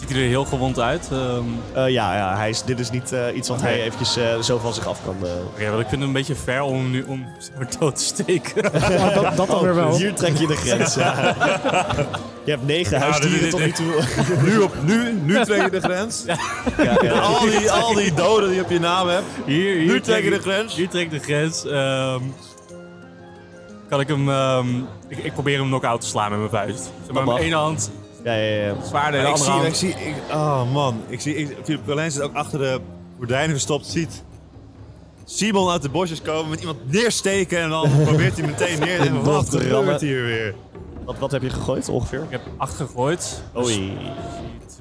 Ziet hij er heel gewond uit? Ehm, Eh, ja, ja hij is, dit is niet eh, iets wat Oké. hij eventjes eh, zo van zich af kan... eh, Oké, want ik vind het een beetje ver om nu om zo dood te steken. *laughs* Ja, dat, dat dan weer wel. Hier trek je de grens, ja. Je hebt negen huisdieren Nou, dit- tot nu dit- toe. *laughs* Nu, op, nu, *laughs* nu trek je de grens. Al, die, al die doden die op je naam hebt. Hier, hier Nu trek trek je de ik- grens. Hier trek ik de grens. Ehm, kan ik hem... ehm, ik, ik probeer hem knock-out te slaan met mijn vuist. Zeg maar, mag. met ene hand Ja, ja, ja. zwaarder en de ik andere zie, hand... ik zie, ik, oh man, ik zie, ik, Philip Berlijn zit ook achter de gordijnen verstopt, ziet Simon uit de bosjes komen met iemand neersteken en *laughs* dan probeert hij meteen neer te Een Wat bocht te rammen. gebeurt hier weer? Wat, wat heb je gegooid ongeveer? Ik heb 8 gegooid. Oei.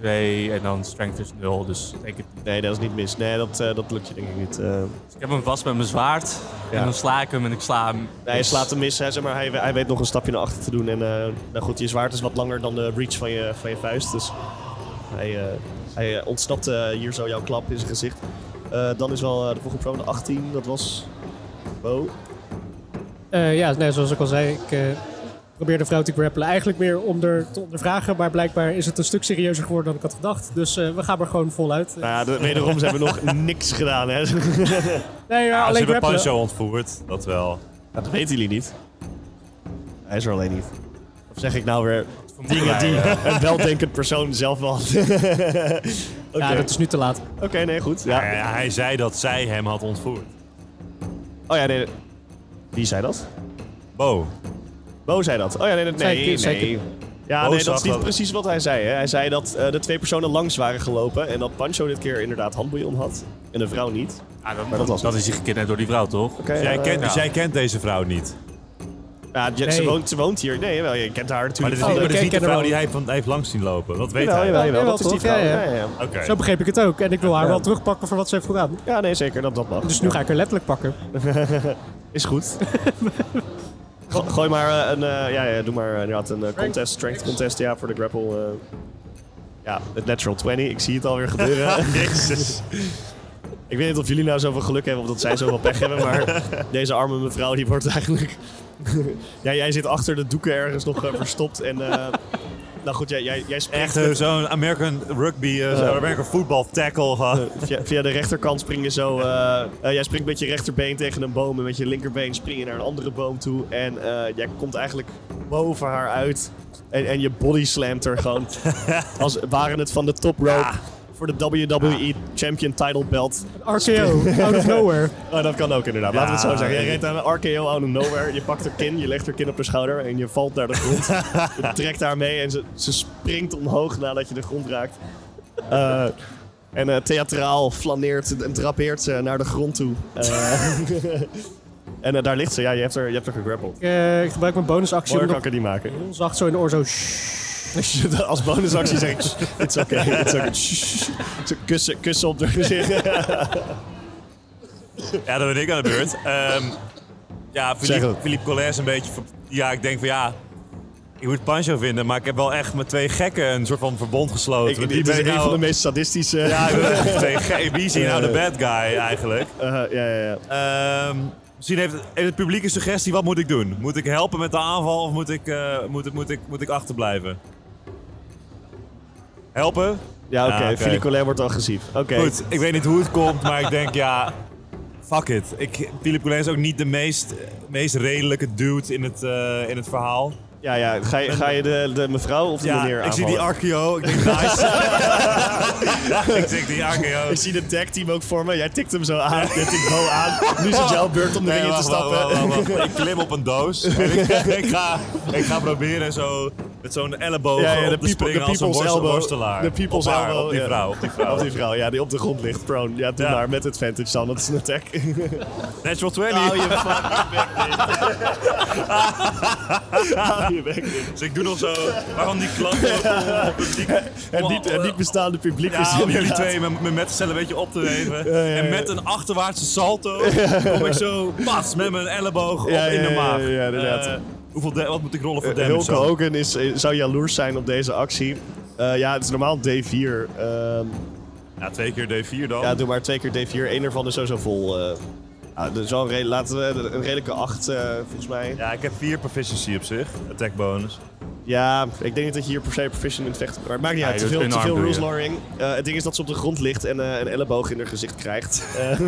2 en dan strength is 0, dus ik, denk het niet. Nee, dat is niet mis. Nee, dat, eh, dat lukt je denk ik niet. Eh Dus ik heb hem vast met mijn zwaard. Ja. En dan sla ik hem en ik sla hem. Dus hij slaat hem mis, hè, zeg maar hij, hij weet nog een stapje naar achter te doen. En eh, nou goed, je zwaard is wat langer dan de reach van je, van je vuist. Dus hij, eh, hij eh, ontsnapt eh, hier zo jouw klap in zijn gezicht. Eh, dan is wel eh, de volgende persoon, de 18, dat was... Bo. Eh, ja, nee, zoals ik al zei, ik eh, probeer de vrouw te grappelen. Eigenlijk meer om er te ondervragen, maar blijkbaar is het een stuk serieuzer geworden dan ik had gedacht. Dus eh, we gaan er gewoon voluit. Nou ja, de- wederom ze hebben nog *laughs* niks gedaan, hè. ze nee, ja, alleen hebben grappelen. Pancho ontvoerd, dat wel. Ja, dat weten jullie niet. Hij is er alleen niet. Of zeg ik nou weer dingen mij, die *laughs* een weldenkend persoon zelf wel *laughs* had. Oké, Ja, dat is nu te laat. Oké, nee, goed. Ja. Ja. Eh, hij zei dat zij hem had ontvoerd. Oh ja, nee. Wie zei dat? Bo. Bo zei dat. Oh ja, nee, dat- Zei nee, nee. ik- zei ik- Ja, Bo nee, dat zag is niet dat. precies wat hij zei. Hè. Hij zei dat eh, de twee personen langs waren gelopen en dat Pancho dit keer inderdaad handbouillon had. En de vrouw niet. Ah, dat, dat was dat is hij gekidnapt door die vrouw, toch? Oké. Dus jij, eh, kent, dus ja. jij kent deze vrouw niet. ja, je- ze, Nee. woont, ze woont hier. Nee, wel, je kent haar Maar natuurlijk. dit is Oh, niet, maar van de- dit is ik niet de ken vrouw haar die wel. hij heeft, heeft langs zien lopen. Dat weet Jawel, hij. jawel, jawel, Jawel, dat is die toch? vrouw. Ja, Ja, ja. ja, ja. Oké. Zo begreep ik het ook. En ik wil haar Ja. wel terugpakken voor wat ze heeft gedaan. Ja, nee, zeker. Dat, dat mag. Dus nu ga ik haar letterlijk pakken. Is goed. *laughs* Go- gooi maar eh, een... eh, ja, ja, doe maar eh, inderdaad een eh, contest, strength contest ja, voor de grapple. eh. ja, het natural 20. Ik zie het alweer gebeuren. *laughs* *laughs* Jezus. ik weet niet of jullie nou zoveel geluk hebben of dat zij zoveel pech hebben, *laughs* maar deze arme mevrouw die wordt eigenlijk... *laughs* ja, jij zit achter de doeken ergens nog eh, verstopt en... eh, nou goed, jij, jij, jij springt Echt met- eh, zo'n American rugby, eh, zo'n American football tackle. gehad. Via, via de rechterkant spring je zo. eh, eh, jij springt met je rechterbeen tegen een boom. En met je linkerbeen spring je naar een andere boom toe. En eh, jij komt eigenlijk boven haar uit. En, en je body slamt er gewoon. als waren het van de top rope. Voor de WWE Champion Title Belt. RKO, *laughs* out of nowhere. Oh, dat kan ook inderdaad. Laten we het zo Ja, zeggen. Je ja. reed aan een RKO out of nowhere. Je pakt haar kin, je legt haar kin op haar schouder en je valt naar de *laughs* grond. je trekt haar mee en ze, ze springt omhoog nadat je de grond raakt. Eh, en eh, theatraal flaneert en drapeert ze naar de grond toe. Eh, *laughs* en eh, daar ligt ze. Ja, je hebt haar, je hebt haar gegrappeld. Ik, eh, ik gebruik mijn bonusactie Mooier om kan nog ik er niet maken. heel zacht zo in de oor zo... "Shh." Als je dat Als bonusactie zeg ik, it's okay, it's okay. Ze kussen, kussen op haar *laughs* gezicht. Ja, dan ben ik aan de *laughs* beurt. Ehm, ja, Zeg Philippe, het. Philippe Collins een beetje... ver- Ja, ik denk van ja... Ik moet Pancho vinden, maar ik heb wel echt met twee gekken een soort van verbond gesloten. Ik, Want dit is ben een ik nou- van de meest sadistische... Ja, ik ben echt twee gekken. Wie is hier nou de bad guy eigenlijk? Eh, ja, ja, ja. Ehm, misschien heeft, heeft het publiek een suggestie. Wat moet ik doen? Moet ik helpen met de aanval of moet ik, eh, moet, ik- moet, ik, moet ik achterblijven? Helpen? Ja, oké. Ja, oké. Philippe Collin wordt agressief. Oké. Goed, ik weet niet hoe het komt, maar ik denk ja... Fuck it. Ik, Philippe Collin is ook niet de meest, meest redelijke dude in het, eh, in het verhaal. Ja, ja. Ga je, ga je de, de mevrouw of de Ja, meneer ik zie die aanvallen? RKO. Ik denk nice. *laughs* ik zie die RKO. Ik zie de tag team ook voor me. Jij tikt hem zo aan. *laughs* Jij tikt Bo aan. Nu is het jouw beurt om de ring in te wacht, wacht, stappen. wacht, wacht, wacht. Ik klim op een *laughs* doos. En ik, ik, ga, ik ga proberen zo met zo'n elleboog Ja, ja, de op te people- springen de als een people's worst- elbow. worstelaar. De people's op haar, elbow, Op die ja. vrouw. Op die vrouw. Of die vrouw, ja, die op de grond ligt, prone. Ja, doe Ja. maar met advantage dan, dat is een attack. Natural 20. Nou, *laughs* Hou je bek niet. Dus ik doe nog zo. Waarom die klap? *laughs* Het niet, het niet bestaande publiek is Ja, om jullie inderdaad- twee met mijn metgezellen een beetje op te nemen. En met een achterwaartse salto kom ik zo pas met mijn elleboog op Ja, in de ja, ja, maag. ja, inderdaad. Eh, hoeveel da- wat moet ik rollen voor Eh, damage? Hulk dan? Hogan is, eh, zou jaloers zijn op deze actie. Eh, ja, het is normaal D4. Ehm, Ja, twee keer D4 dan. Ja, doe maar twee keer D4. Eén ervan is sowieso vol. eh. ja, dus wel een re- laten we een redelijke 8 volgens mij. ja, ik heb vier proficiency op zich. Attack bonus. Ja, ik denk niet dat je hier per se proficient in het vechten Maar het maakt niet uit, je te doet veel, in te arm veel doe rules je. lawyering. Eh, het ding is dat ze op de grond ligt en eh, een elleboog in haar gezicht *laughs* krijgt. Eh,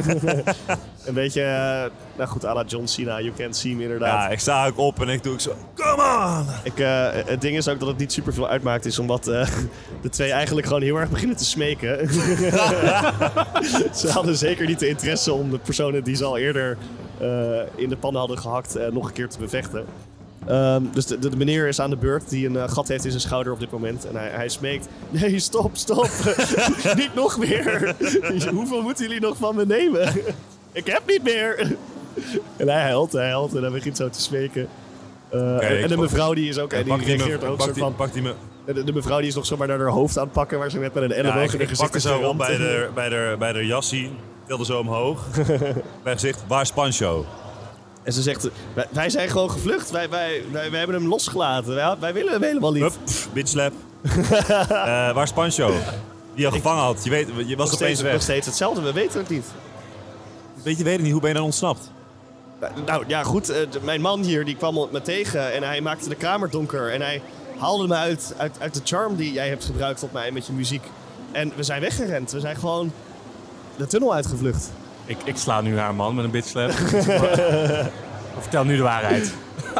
*laughs* een beetje, eh, nou goed, à la John Cena, you can't see me inderdaad. Ja, ik sta ook op en ik doe ik zo. Come on! Ik, eh, het ding is ook dat het niet super veel uitmaakt is, omdat eh, *laughs* de twee eigenlijk gewoon heel erg beginnen te smeken. *laughs* ze hadden zeker niet de interesse om de personen die ze al eerder eh, in de pannen hadden gehakt eh, nog een keer te bevechten. Ehm, dus de, de, de meneer is aan de beurt die een eh, gat heeft in zijn schouder op dit moment. En hij, hij smeekt: Nee, stop, stop. *laughs* niet nog meer. *laughs* Hoeveel moeten jullie nog van me nemen? *laughs* Ik heb niet meer. *laughs* en hij huilt, hij huilt en hij begint zo te smeken. Eh, en, ik en de pak- mevrouw die is ook, en die Pak die me- reageert ook pak soort die- van. Pak die me. De, de mevrouw die is nog zomaar naar haar hoofd aan het pakken, waar ze net met een Ja, ik, elleboog in ik pak haar gezicht er is zo op geramd. bij de, bij de, bij de *laughs* jassie. Tilde zo omhoog. Mijn gezicht, waar is Pancho? En ze zegt, wij, wij zijn gewoon gevlucht, wij, wij, wij, wij hebben hem losgelaten, wij, wij willen hem helemaal niet. Hup, pff, bitch *laughs* slap. Eh, waar is Pancho? Die je gevangen had. Je, weet, je was nog, opeens steeds, nog weg. steeds hetzelfde, we weten het niet. Weet je, weet het niet, hoe ben je dan ontsnapt? Nou, Nou ja, goed. eh, d- mijn man hier die kwam me tegen en hij maakte de kamer donker. En hij haalde me uit, uit, uit de charm die jij hebt gebruikt op mij met je muziek. En we zijn weggerend. We zijn gewoon de tunnel uitgevlucht. *laughs* Ik, ik sla nu haar man met een bitslap. Maar- Vertel nu de waarheid.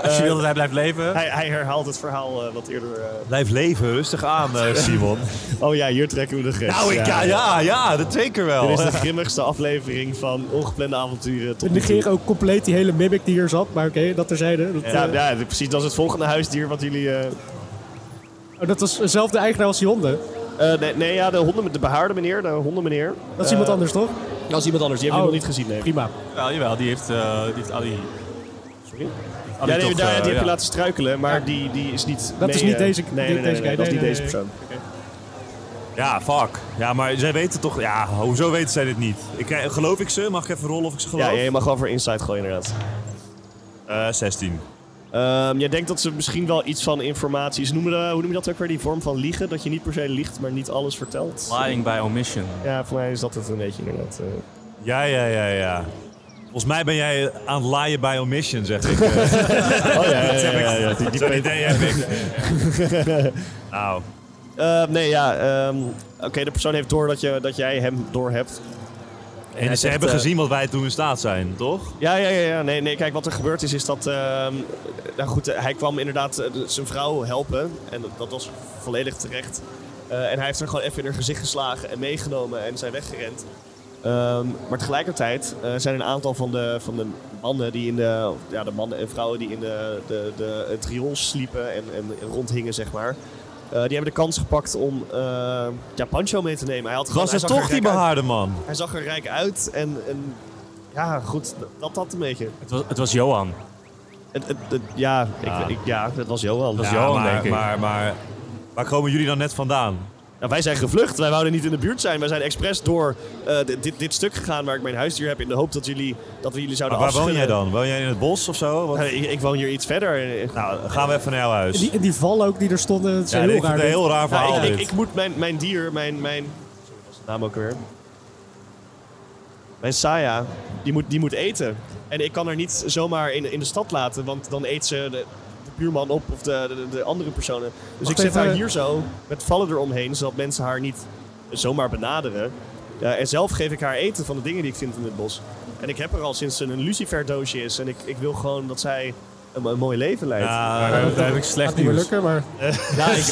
Als je wil dat hij blijft leven. Hij, hij herhaalt het verhaal eh, wat eerder. eh, Blijf leven, rustig aan, eh, Simon. Oh ja, hier trekken we de grens. nou, ik, *laughs* ja, ja, ja, dat zeker wel. Dit is de grimmigste aflevering van Ongeplande Avonturen. We Tot nu toe. negeren ook compleet die hele mimic die hier zat, maar oké, dat terzijde. Dat, Ja, eh, ja, dit- precies. Dat is het volgende huisdier wat jullie... eh, oh, dat was dezelfde eigenaar als die honden. eh, nee, nee, ja, de, honden, de behaarde meneer, Eh, de hondenmeneer. Dat is iemand anders, toch? Dat is iemand anders. Die hebben Oh. jullie nog niet gezien, nee. Prima. Jawel, jawel, die heeft, eh, die heeft Ali. Sorry? Ali Ja, nee, toch, daar, eh, die heb je ja. laten struikelen, maar die, die is niet... Dat nee, is niet eh, deze- Nee, niet nee, nee, deze nee, guy. dat is niet Nee, deze nee, persoon. Ja, fuck. Ja, maar zij weten toch... Ja, hoezo weten zij dit niet? Ik, eh, geloof ik ze? Mag ik even rollen of ik ze geloof? Ja, je mag wel voor insight gooien, inderdaad. Eh, 16. Ehm, jij denkt dat ze misschien wel iets van informatie... Ze noemen de- hoe noem je dat ook weer? Die vorm van liegen? Dat je niet per se liegt, maar niet alles vertelt? Lying by omission. Ja, voor mij is dat het een beetje inderdaad. eh. Ja, ja, ja, ja. Volgens mij ben jij aan het laaien bij omission, zeg ik. eh. *laughs* Oh ja, ja, ja, ja, ja. Zo'n idee heb ik. *laughs* Nou, Eh, nee, ja. ehm, Oké, de persoon heeft door dat, je, dat jij hem door hebt. en ze zegt, hebben eh, gezien wat wij toen in staat zijn, toch? Ja, ja, ja. ja. Nee, nee, kijk, wat er gebeurd is, is dat... ehm, nou goed, eh, hij kwam inderdaad eh, de- zijn vrouw helpen. En dat, dat was volledig terecht. Eh, en hij heeft haar gewoon even in haar gezicht geslagen en meegenomen en zijn weggerend. Ehm, maar tegelijkertijd eh, zijn een aantal van de, van de mannen die in de... Ja, de mannen en vrouwen die in de, de, de, het riool sliepen en, en, en rondhingen, zeg maar... eh, die hebben de kans gepakt om eh ja, Pancho mee te nemen. Hij had gewoon- Was hij het zag er toch die gek uit. behaarde man? Hij zag er rijk uit en, en ja, goed, dat had een beetje. Het was, het was Johan. Het, het, het- ja, Ja. Ik, ik, ja, dat was Johan. Dat is Ja, Johan, maar, denk ik. Maar, maar waar komen jullie dan net vandaan? Nou, wij zijn gevlucht, wij wouden niet in de buurt zijn. Wij zijn expres door eh, dit- dit, dit stuk gegaan waar ik mijn huisdier heb in de hoop dat, jullie, dat we jullie Maar zouden waar woon afschudden. jij dan? Woon jij in het bos of zo? Wat- Nou, ik, ik woon hier iets verder. Nou, gaan we even naar jouw huis. En die, en die val ook die er stonden, dat is Ja, ik heel vind het raar. een dit. heel raar verhaal nou, ik, ik, dit. ik moet mijn, mijn dier, mijn, mijn... Sorry, wat is de naam ook weer? Mijn Saya, die moet, die moet eten. En ik kan haar niet zomaar in, in de stad laten, want dan eet ze de, de buurman op of de, de, de andere personen. Dus Wacht ik zet even. haar hier zo, met vallen eromheen, zodat mensen haar niet zomaar benaderen. Ja, en zelf geef ik haar eten van de dingen die ik vind in het bos. En ik heb haar al sinds ze een luciferdoosje is. En ik, ik wil gewoon dat zij een, een mooi leven leidt. Ja, Eh, Daar heb ik Gaat slecht niet meer nieuws. lukken, maar Ja, ik,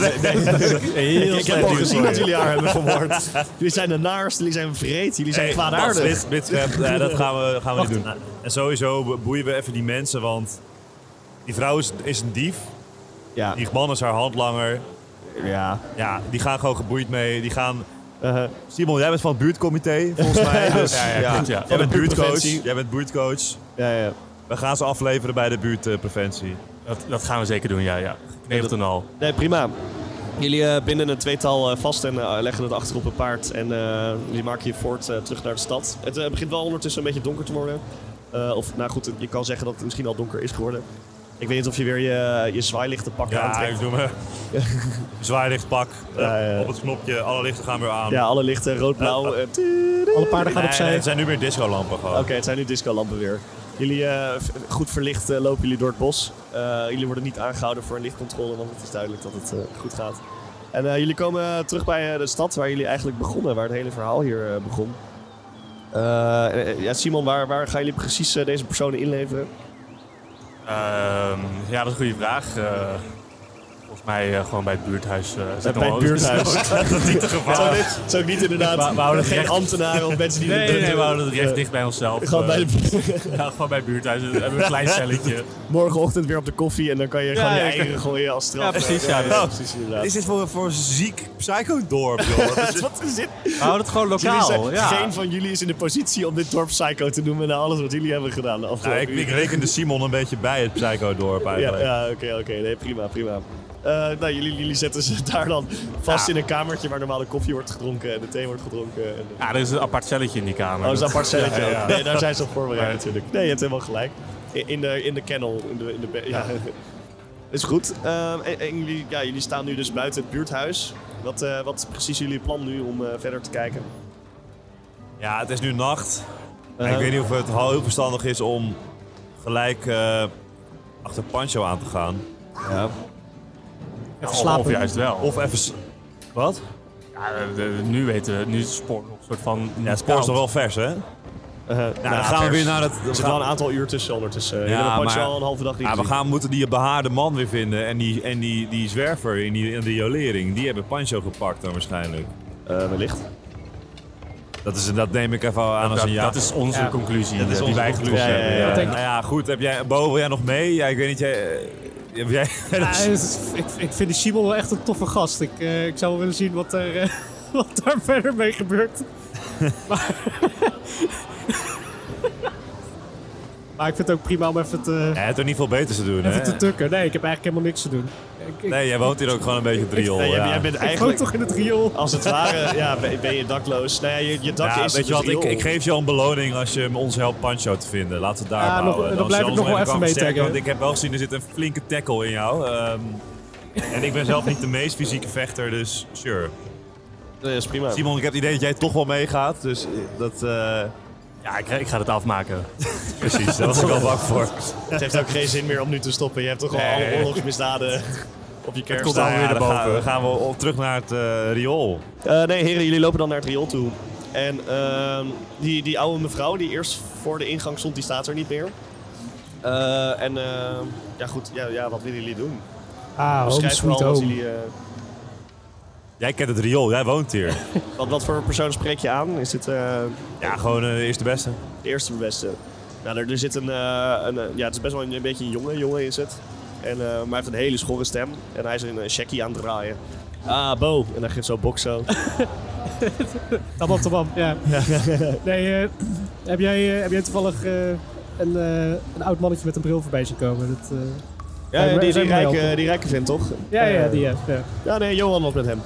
nee, *laughs* Heel ik heb al gezien dat jullie haar hebben vermoord. jullie zijn de naarst, jullie zijn vreed, jullie zijn Hey, kwaadaardig. Bas, dit- dit- *laughs* eh, nee, dat gaan we, gaan we niet doen. En sowieso be- boeien we even die mensen, want die vrouw is, is een dief. Ja, Die man is haar handlanger. ja. Ja, die gaan gewoon geboeid mee. Die gaan... eh, Uh-huh. Simon, jij bent van het buurtcomité, volgens mij. Dus, Ja, ja, goed, ja. Jij bent buurtcoach. buurtpreventie. Jij bent buurtcoach. ja, ja. We gaan ze afleveren bij de buurtpreventie. Dat, dat gaan we zeker doen, ja. ja. Gekneveld en al. Nee, prima. Jullie eh, binden een tweetal eh, vast en eh, leggen het achter op een paard. En eh, jullie maken je voort eh, terug naar de stad. Het eh, begint wel ondertussen een beetje donker te worden. Eh, of nou goed, je kan zeggen dat het misschien al donker is geworden. Ik weet niet of je weer je, je zwaailichten pakken Ja, aantrekt. ik doe me. Zwaarlicht pak. Ja, ja, ja. Op het knopje, alle lichten gaan weer aan. Ja, alle lichten rood-blauw. eh, alle paarden Nee, gaan nee, opzij. het zijn nu meer discolampen gewoon. Oké, het zijn nu discolampen weer. Jullie, eh, v- goed verlicht eh, lopen jullie door het bos. Eh, jullie worden niet aangehouden voor een lichtcontrole, want het is duidelijk dat het eh, goed gaat. En eh, jullie komen eh, terug bij eh, de stad waar jullie eigenlijk begonnen, waar het hele verhaal hier eh, begon. Eh, eh, ja, Simon, waar, waar gaan jullie precies eh, deze personen inleveren? Ehm, ja, dat is een goede vraag. Eh, volgens mij eh, gewoon bij het buurthuis. eh, zijn bij nog het wel- buurthuis. Dat is niet te *laughs* Zo, gevaar. dit, zo ook niet inderdaad. We- we houden het geen recht. ambtenaren of mensen die... Nee, nee, nee, we houden het Eh, recht dicht bij onszelf. Gewoon bij Eh, de, *laughs* ja, gewoon bij het buurthuis. We hebben een klein celletje. morgenochtend weer op de koffie en dan kan je gewoon je ja, ik- eieren gooien als straf. Ja, precies. Ja, dus- precies inderdaad. Is dit voor, voor een ziek psychodorp, joh? Dat *laughs* is- Wat is dit? We houden het gewoon Jullie zijn- lokaal. Ja. Geen van jullie is in de positie om dit dorp psycho te noemen na alles wat jullie hebben gedaan. de Nou, afgelopen ik, ik uren. rekende Simon een beetje bij het psychodorp Ja, eigenlijk. ja, oké, oké. Nee, prima, prima. Eh, nou, jullie, jullie zetten ze *laughs* daar dan vast in een kamertje waar normaal de koffie wordt gedronken en de thee wordt gedronken. En de... ja, er is een apart celletje in die kamer. Oh, is dat apart celletje ook? ja. Nee, daar zijn ze op voorbereid Maar- natuurlijk. Nee, je hebt helemaal gelijk. In, in de, in de kennel. In de, in de be- ja. *laughs* Is goed. Ehm, en, en jullie, ja, jullie staan nu dus buiten het buurthuis. Wat, eh, wat is precies jullie plan nu om eh, verder te kijken? Ja, het is nu nacht. ik weet niet of het heel verstandig is om gelijk eh, achter Pancho aan te gaan. Of- slapen. Of juist wel. Of even... s- Wat? Ja, eh, nu weten we, nu is het spoor nog een soort van. Ja, het spoor is nog wel vers, hè? Eh, Ja, dan gaan Nou, we weer naar het... Er zit wel een aantal uur tussen ondertussen. Ja, Ja, hebben Punch maar- al een halve dag niet Ja, we gezien. gaan moeten die behaarde man weer vinden en die, en die, die zwerver in die, in die jolering. Die hebben Pancho gepakt dan waarschijnlijk. Eh, wellicht. Oh, Dat, is, dat neem ik even aan als Dat, een ja. dat is onze conclusie. eh, Dat is die onze wij conclusie. getrokken Ja, ja, ja. hebben. Ja, denk- nou ja, goed. Heb jij, Bo, wil jij nog mee? Ja, ik weet niet, jij... *laughs* eh, Heb jij... *laughs* Ja, het is- ik, ik vind die Simon wel echt een toffe gast. Ik, eh, ik zou wel willen zien wat, er, eh, *laughs* wat daar verder mee gebeurt. maar, maar ik vind het ook prima om even te, Hij heeft er niet veel beter te doen, hè? even te tukken. Nee, ik heb eigenlijk helemaal niks te doen. Ik, ik, Nee, jij woont hier ook gewoon een beetje op het riool. Nee, jij, ja. jij bent ik woon eigenlijk, Ah, toch in het riool. als het *laughs* ware, ja, ben, ben je dakloos. Nou ja, je, je dak Ja, is weet je dus wat, ik, riool. ik geef je al een beloning als je ons helpt Pancho te vinden. Laten we het daar Ja, maar nog- houden. dan blijf zal ik ons nog wel even kwamen mee sterken, taggen. Want ik heb wel gezien, er zit een flinke tackle in jou. Ehm, en ik ben zelf niet de meest fysieke vechter, dus sure. Nee, dat is prima. Simon, ik heb het idee dat jij toch wel meegaat, dus eh, dat... eh, Ja, ik, ik ga het afmaken. *laughs* precies, daar was ik al bang voor. Het heeft ook geen zin meer om nu te stoppen. Je hebt toch al alle oorlogsmisdaden op je kerst. Komt staan. weer boven. Dan gaan we op- terug naar het eh, riool. Eh, nee, heren, jullie lopen dan naar het riool toe. En ehm, die, die oude mevrouw die eerst voor de ingang stond, die staat er niet meer. Eh, en ehm, ja, goed, ja, ja, wat willen jullie doen? Ah, home Beschrijf sweet vooral wat, home. jullie, eh, Jij kent het riool, jij woont hier. wat, wat voor persoon spreek je aan? Is dit eh, Ja, gewoon eh eerst de beste. de eerste beste? Nou, er, er zit een, eh, een, eh, ja, het is best wel een, een beetje een jonge jongen in zit. En, eh, maar hij heeft een hele schorre stem. En hij is een eh, checkie aan het draaien. Ah, Bo. En dan geeft zo bok zo. Tabam, tabam, ja. Nee, eh, heb, jij, eh, heb jij toevallig eh, een, eh, een oud mannetje met een bril voorbij zien komen? Dat, eh, Ja, Ja, die, die, zijn we rijke, helpen. die rijke vindt toch? ja, ja, Eh, die ja, ja. Ja, nee, Johan was met hem.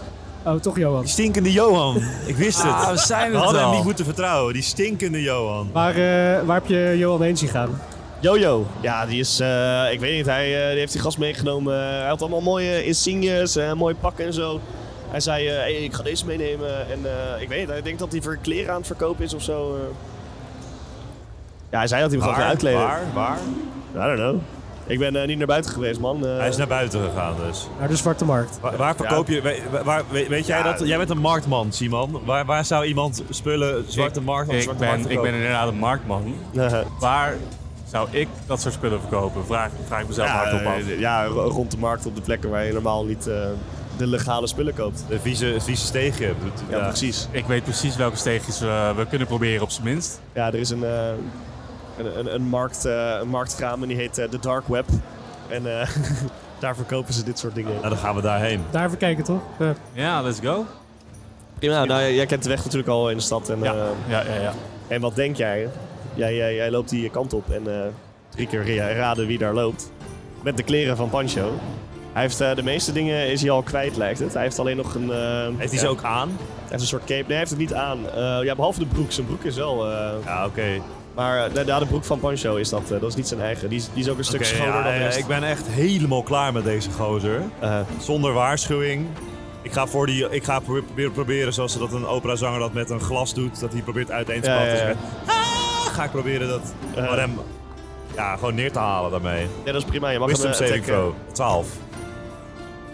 Oh, toch Johan. Stinkende Johan, ik wist het. Ah, we zijn we het hadden hem al. niet moeten vertrouwen, die stinkende Johan. Waar, eh, waar heb je Johan heen zien gaan? Jojo. Ja, die is, eh, ik weet niet, hij eh, die heeft die gast meegenomen. Eh, hij had allemaal mooie insignes, eh mooie pakken en zo. Hij zei, eh, hey, ik ga deze meenemen. En eh, ik weet niet, hij denkt dat hij voor kleren aan het verkopen is of zo. eh. Ja, hij zei dat hij me gewoon ging uitkleden. waar, waar? I don't know. Ik ben eh, niet naar buiten geweest, man. Eh, Hij *laughs* is naar buiten gegaan dus. Naar de Zwarte Markt. Waar, waar verkoop je... we- Waar, weet, weet jij dat? Jij bent een marktman, Simon. Waar, waar zou iemand spullen, zwarte Ik- markt of ik zwarte ben, markt Ik ben verkopen? inderdaad een marktman. eh, Waar zou ik dat soort spullen verkopen? Vraag, vraag ik mezelf ja, hardop af. eh, ja, ro- rond de markt op de plekken waar je normaal niet eh, de legale spullen koopt. De vieze, het vieze steegje. Ja, Ja. precies. Ik weet precies welke steegjes we, we kunnen proberen op zijn minst. Ja, er is een, eh, een, een, een, markt, eh, een marktkraam en die heet eh, de Dark Web. En eh, *laughs* daar verkopen ze dit soort dingen. Nou, dan gaan we daarheen. Daar even kijken, toch? Eh, Ja. Ja, let's go. Prima, nou jij kent de weg natuurlijk al in de stad. En, eh, Ja, ja, ja. en wat denk jij? Jij, jij? jij loopt die kant op en eh, drie keer ra- raden wie daar loopt. Met de kleren van Pancho. Hij heeft eh, de meeste dingen is hij al kwijt, lijkt het. Hij heeft alleen nog een... eh, Heeft hij ja, ze ook aan? hij heeft een soort cape. Nee, hij heeft het niet aan. Eh, ja, behalve de broek. Zijn broek is wel... eh, Ja, oké. Maar eh, de, de broek van Pancho is dat. eh, dat is niet zijn eigen. Die is, die is ook een stuk Oké, schoner ja, dan ja, de rest. ik ben echt helemaal klaar met deze gozer. Eh, Zonder waarschuwing. Ik ga, voor die, ik ga pro- pro- proberen, zoals dat een operazanger dat met een glas doet, dat hij probeert uiteen te Ja, spatten. ja, ja. Dus met, "Ah!" ga ik proberen dat Eh. van hem ja, gewoon neer te halen daarmee. Ja, dat is prima. Je mag Wisdom hem eh, saving attacken. throw, 12.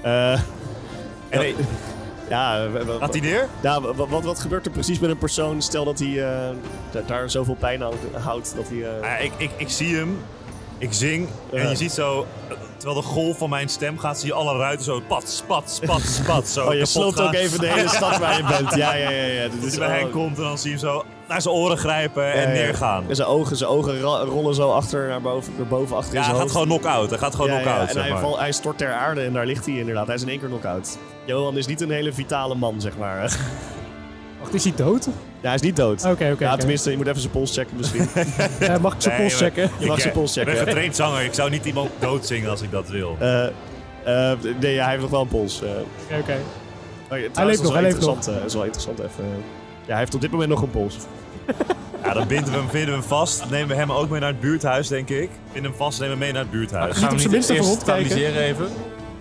Eh, En nee, ja, eh, w- w- gaat hij neer? ja, w- w- wat, wat gebeurt er precies met een persoon? Stel dat hij eh, da- daar zoveel pijn aan houdt dat hij... eh, Ah, ik, ik, ik zie hem, ik zing en Ja. je ziet zo, eh, terwijl de golf van mijn stem gaat, zie je alle ruiten zo pat, spat, spat, spat. Zo *laughs* oh, je kapot sloopt gaan. ook even de hele stad waar je bent. Ja, ja, ja. *laughs* ja. Dit Als is hij bij oh, hen komt en dan zie je hem zo naar zijn oren grijpen en ja, ja. neergaan. En zijn ogen, zijn ogen ra- rollen zo achter naar boven, naar boven achter in Ja, hij zijn gaat hoofd. gewoon knock-out. Hij gaat gewoon Ja, ja, knock-out, en zeg hij, maar. val- hij stort ter aarde en daar ligt hij inderdaad. Hij is in één keer knock-out. Johan is niet een hele vitale man, zeg maar. *laughs* Wacht, is hij dood? Oké, ja, hij is niet dood. oké. oké. ja, tenminste, je moet even zijn pols checken misschien. Eh, mag ik Nee, zijn pols maar- checken? Je mag Ik, zijn eh, pols Ik ben checken. getraind zanger. Ik zou niet iemand doodzingen als ik dat wil. Eh, eh, nee, ja, hij heeft nog wel een pols. eh. Oké, *laughs* oké. Maar ja, trouwens, Hij dat leeft is nog, wel hij leeft nog. interessant, eh, dat is wel interessant even. eh. Ja, hij heeft op dit moment nog een pols. Ja, dan binden we hem, vinden we hem vast. Nemen we hem ook mee naar het buurthuis, denk ik. Vinden hem vast, nemen we hem mee naar het buurthuis. Gaan op zijn we niet minst even eerst rondkijken. stabiliseren even?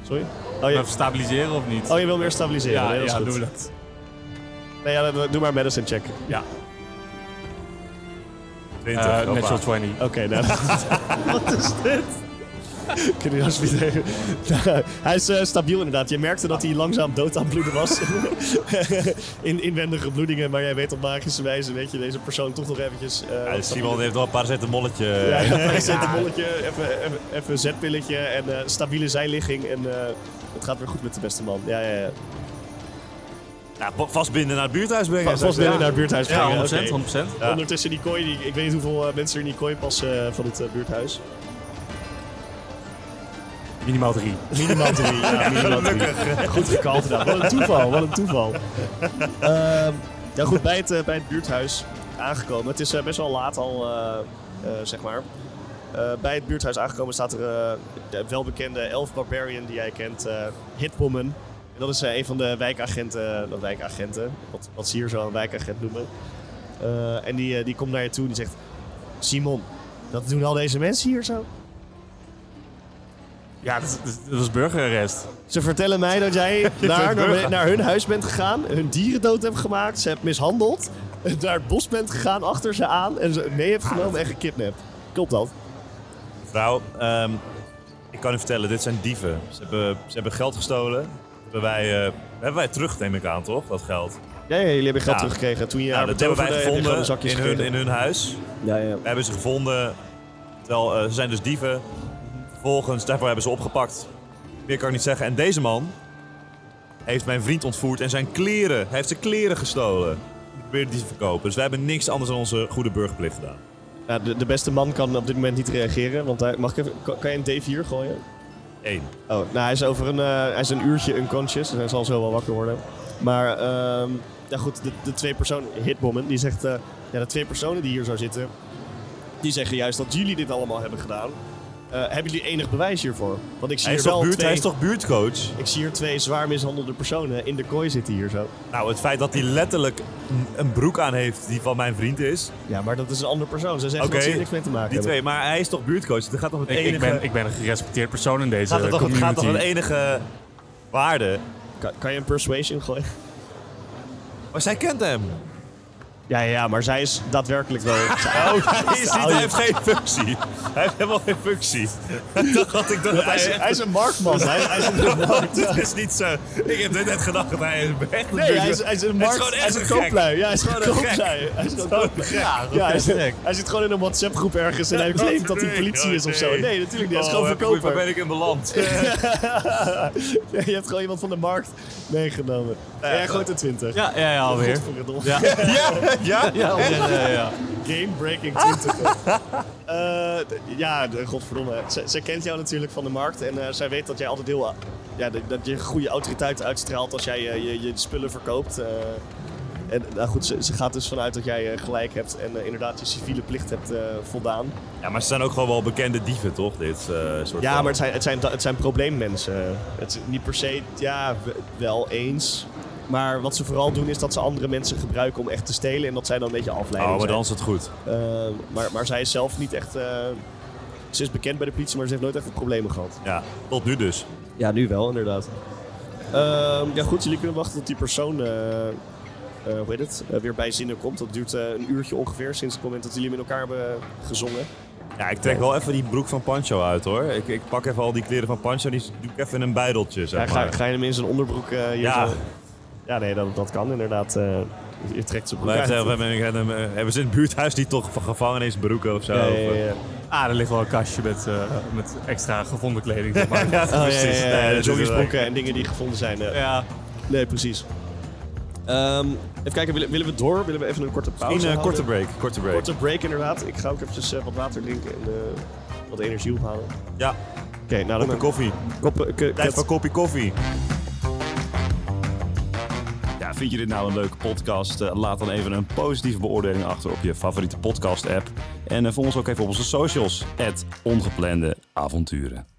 Sorry? Oh, je, Nou, Even stabiliseren of niet? oh, je wil meer stabiliseren? ja, nee, dat is ja, goed. doen we dat. Nee, ja, dan- doe maar medicine check. Oké, Ja, 20, Eh hoppa. *laughs* natural 20. nou. Wat is dit? Kun je alsjeblieft even- hij is eh, stabiel inderdaad. Je merkte dat hij langzaam dood aan het bloeden was. *laughs* In inwendige bloedingen, maar jij weet op magische wijze, weet je, deze persoon toch nog eventjes... eh, Ja, wat Simon heeft wel een paar zetten molletje. Ja, ja, een paracetamoletje, even, even, even een zetpilletje en eh, stabiele zijligging. En eh, het gaat weer goed met de beste man. Ja, ja, ja. Ja, pa- vastbinden naar het buurthuis brengen. Vast zou ik binnen naar het buurthuis brengen. Ja, 100%. oké. 100%. Ja. Ondertussen die kooi, die, ik weet niet hoeveel eh, mensen er in die kooi passen eh, van het eh, buurthuis. Minimaal drie. Minimaal drie. ja, minimaal drie. Goed gekald gedaan. Wat een toeval, wat een toeval. Ehm, ja goed, bij het, eh, bij het buurthuis aangekomen. Het is eh, best wel laat al, eh, eh, zeg maar. Eh, bij het buurthuis aangekomen staat er eh, de welbekende elf barbarian die jij kent, eh, Hitwoman. En dat is eh, een van de wijkagenten, de wijkagenten wat, wat ze hier zo een wijkagent noemen. Eh, en die, eh, die komt naar je toe en die zegt, Simon, dat doen al deze mensen hier zo? Ja, dat, dat- dat was burgerarrest. Ze vertellen mij dat *laughs* jij naar, naar, naar hun huis bent gegaan, hun dieren dood hebt gemaakt, ze hebt mishandeld, *laughs* naar het bos bent gegaan achter ze aan en ze mee hebt genomen en gekidnapt. Klopt dat? Vrouw, ehm, ik kan u vertellen, dit zijn dieven. Ze hebben, ze hebben geld gestolen. Dat Hebben wij, eh, hebben wij terug, neem ik aan, toch? Dat geld. Ja, ja, jullie hebben geld Ja. teruggekregen toen je Ja, haar Nou, dat hebben wij betoverde en gewoon de gevonden zakjes in hun, gegeten. in hun huis. Ja, ja. We hebben ze gevonden. Terwijl, eh, ze zijn dus dieven. Vervolgens, daarvoor hebben ze opgepakt. Meer kan ik niet zeggen. En deze man heeft mijn vriend ontvoerd en zijn kleren. Hij heeft zijn kleren gestolen. Hij probeerde die te verkopen. Dus wij hebben niks anders dan onze goede burgerplicht gedaan. Ja, de, de beste man kan op dit moment niet reageren, want hij, mag ik even, kan, kan je een D4 gooien? Eén. Oh, nou, hij is over een, eh, hij is een uurtje unconscious, dus hij zal zo wel wakker worden. Maar, ehm, ja goed, de, de twee personen, Hitwoman, die zegt, eh, ja, de twee personen die hier zo zitten, die zeggen juist dat jullie dit allemaal hebben gedaan. Eh, hebben jullie enig bewijs hiervoor? Want ik zie Hij hier is, toch wel buurt, twee, hij is toch buurtcoach? ik zie hier twee zwaar mishandelde personen in de kooi zitten hier zo. Nou, het feit dat hij letterlijk een- een broek aan heeft die van mijn vriend is. Ja, maar dat is een andere persoon. Ze zeggen Oké, dat ze hier niks mee te maken Die hebben. twee, maar hij is toch buurtcoach? Dat gaat toch het Ik, enige... ik, ben, ik ben een gerespecteerd persoon in deze gaat eh, het toch, community. gaat toch het enige waarde? Kan, kan je een persuasion gooien? Maar zij kent hem. Ja, ja, maar zij is daadwerkelijk *laughs* wel... *laughs* Oh, Hij, is niet, hij heeft geen functie. Hij heeft helemaal geen functie. Ik dacht dat ik dat hij, hij, is, hij is een marktman. hij, hij is een *laughs* Dat is niet zo. Ik heb net gedacht dat hij een echt een Nee, buurt- hij is, hij is een Hij is markt. gewoon echt hij is een een gek. kooplui. Ja, hij is Gewoon een een gek. kooplui. Hij is een kooplui. Ja, Ja, hij, is- gek. hij zit gewoon in een WhatsApp-groep ergens en hij Dat claimt dat hij ik. politie Oh, is of zo. nee. Nee, natuurlijk niet. Hij is Oh, gewoon heb ik- Waar ben verkoper. ik in beland? Ja, *laughs* Je hebt gewoon iemand van de markt meegenomen. En jij gooit een 20. Ja, ja, ja, alweer. Godverdomme. Ja, *laughs* ja? ja, ja, ja, ja. Game-breaking *laughs* 20. Eh, d- ja, de- godverdomme. Zij, zij kent jou natuurlijk van de markt en eh, zij weet dat jij altijd heel... Ja, de- dat je goede autoriteit uitstraalt als jij eh, je, je spullen verkoopt. eh. en nou goed, ze, ze gaat dus vanuit dat jij eh, gelijk hebt en eh, inderdaad je civiele plicht hebt eh, voldaan. Ja, maar ze zijn ook gewoon wel bekende dieven, toch? Dit eh, soort Ja, van- maar het zijn, het zijn, het zijn probleemmensen. Het is niet per se, ja, w- wel eens. Maar wat ze vooral doen is dat ze andere mensen gebruiken om echt te stelen. En dat zij dan een beetje afleiding Oh, maar zijn. dan is het goed. Eh, maar, maar zij is zelf niet echt... eh, ze is bekend bij de politie, maar ze heeft nooit echt wat problemen gehad. Ja, tot nu dus. Ja, nu wel, inderdaad. Ehm, ja, goed. Jullie kunnen wachten tot die persoon, eh, eh, hoe heet het, eh, weer bij zinnen komt. Dat duurt eh, een uurtje ongeveer sinds het moment dat jullie met elkaar hebben gezongen. Ja, ik trek wel even die broek van Pancho uit, hoor. Ik, ik pak even al die kleren van Pancho, die doe ik even in een bijdeltje, Ja, zeg ga, maar. ga je hem in zijn onderbroek... eh, hier Ja. zo- ja, nee, dat, dat kan inderdaad. eh, je trekt zijn broek Maar uit. heeft- hebben, hebben, hebben ze in het buurthuis niet toch van gevangenis broeken of zo? Ja, ja, Of, ja, eh, *laughs* ja. Oh, Ah, er ligt wel een kastje met, eh, met extra gevonden kleding. *laughs* Zeg maar. ja. Oh, ja, ja, precies. ja, Nee, dat is joggingsbroeken en dingen die gevonden zijn. eh. Ja. Nee, precies. Ehm, even kijken, willen, willen we door? Willen we even een korte pauze Misschien een eh, houden? korte break. Korte break. Korte break inderdaad. Ik ga ook eventjes eh, wat water drinken en eh, wat energie ophalen. Oké, Ja, nou kopje dan koffie. koppen. Tijd voor kopje koffie. Ja, vind je dit nou een leuke podcast? Eh, Laat dan even een positieve beoordeling achter op je favoriete podcast app. En eh, volg ons ook even op onze socials. Het ongeplande avonturen.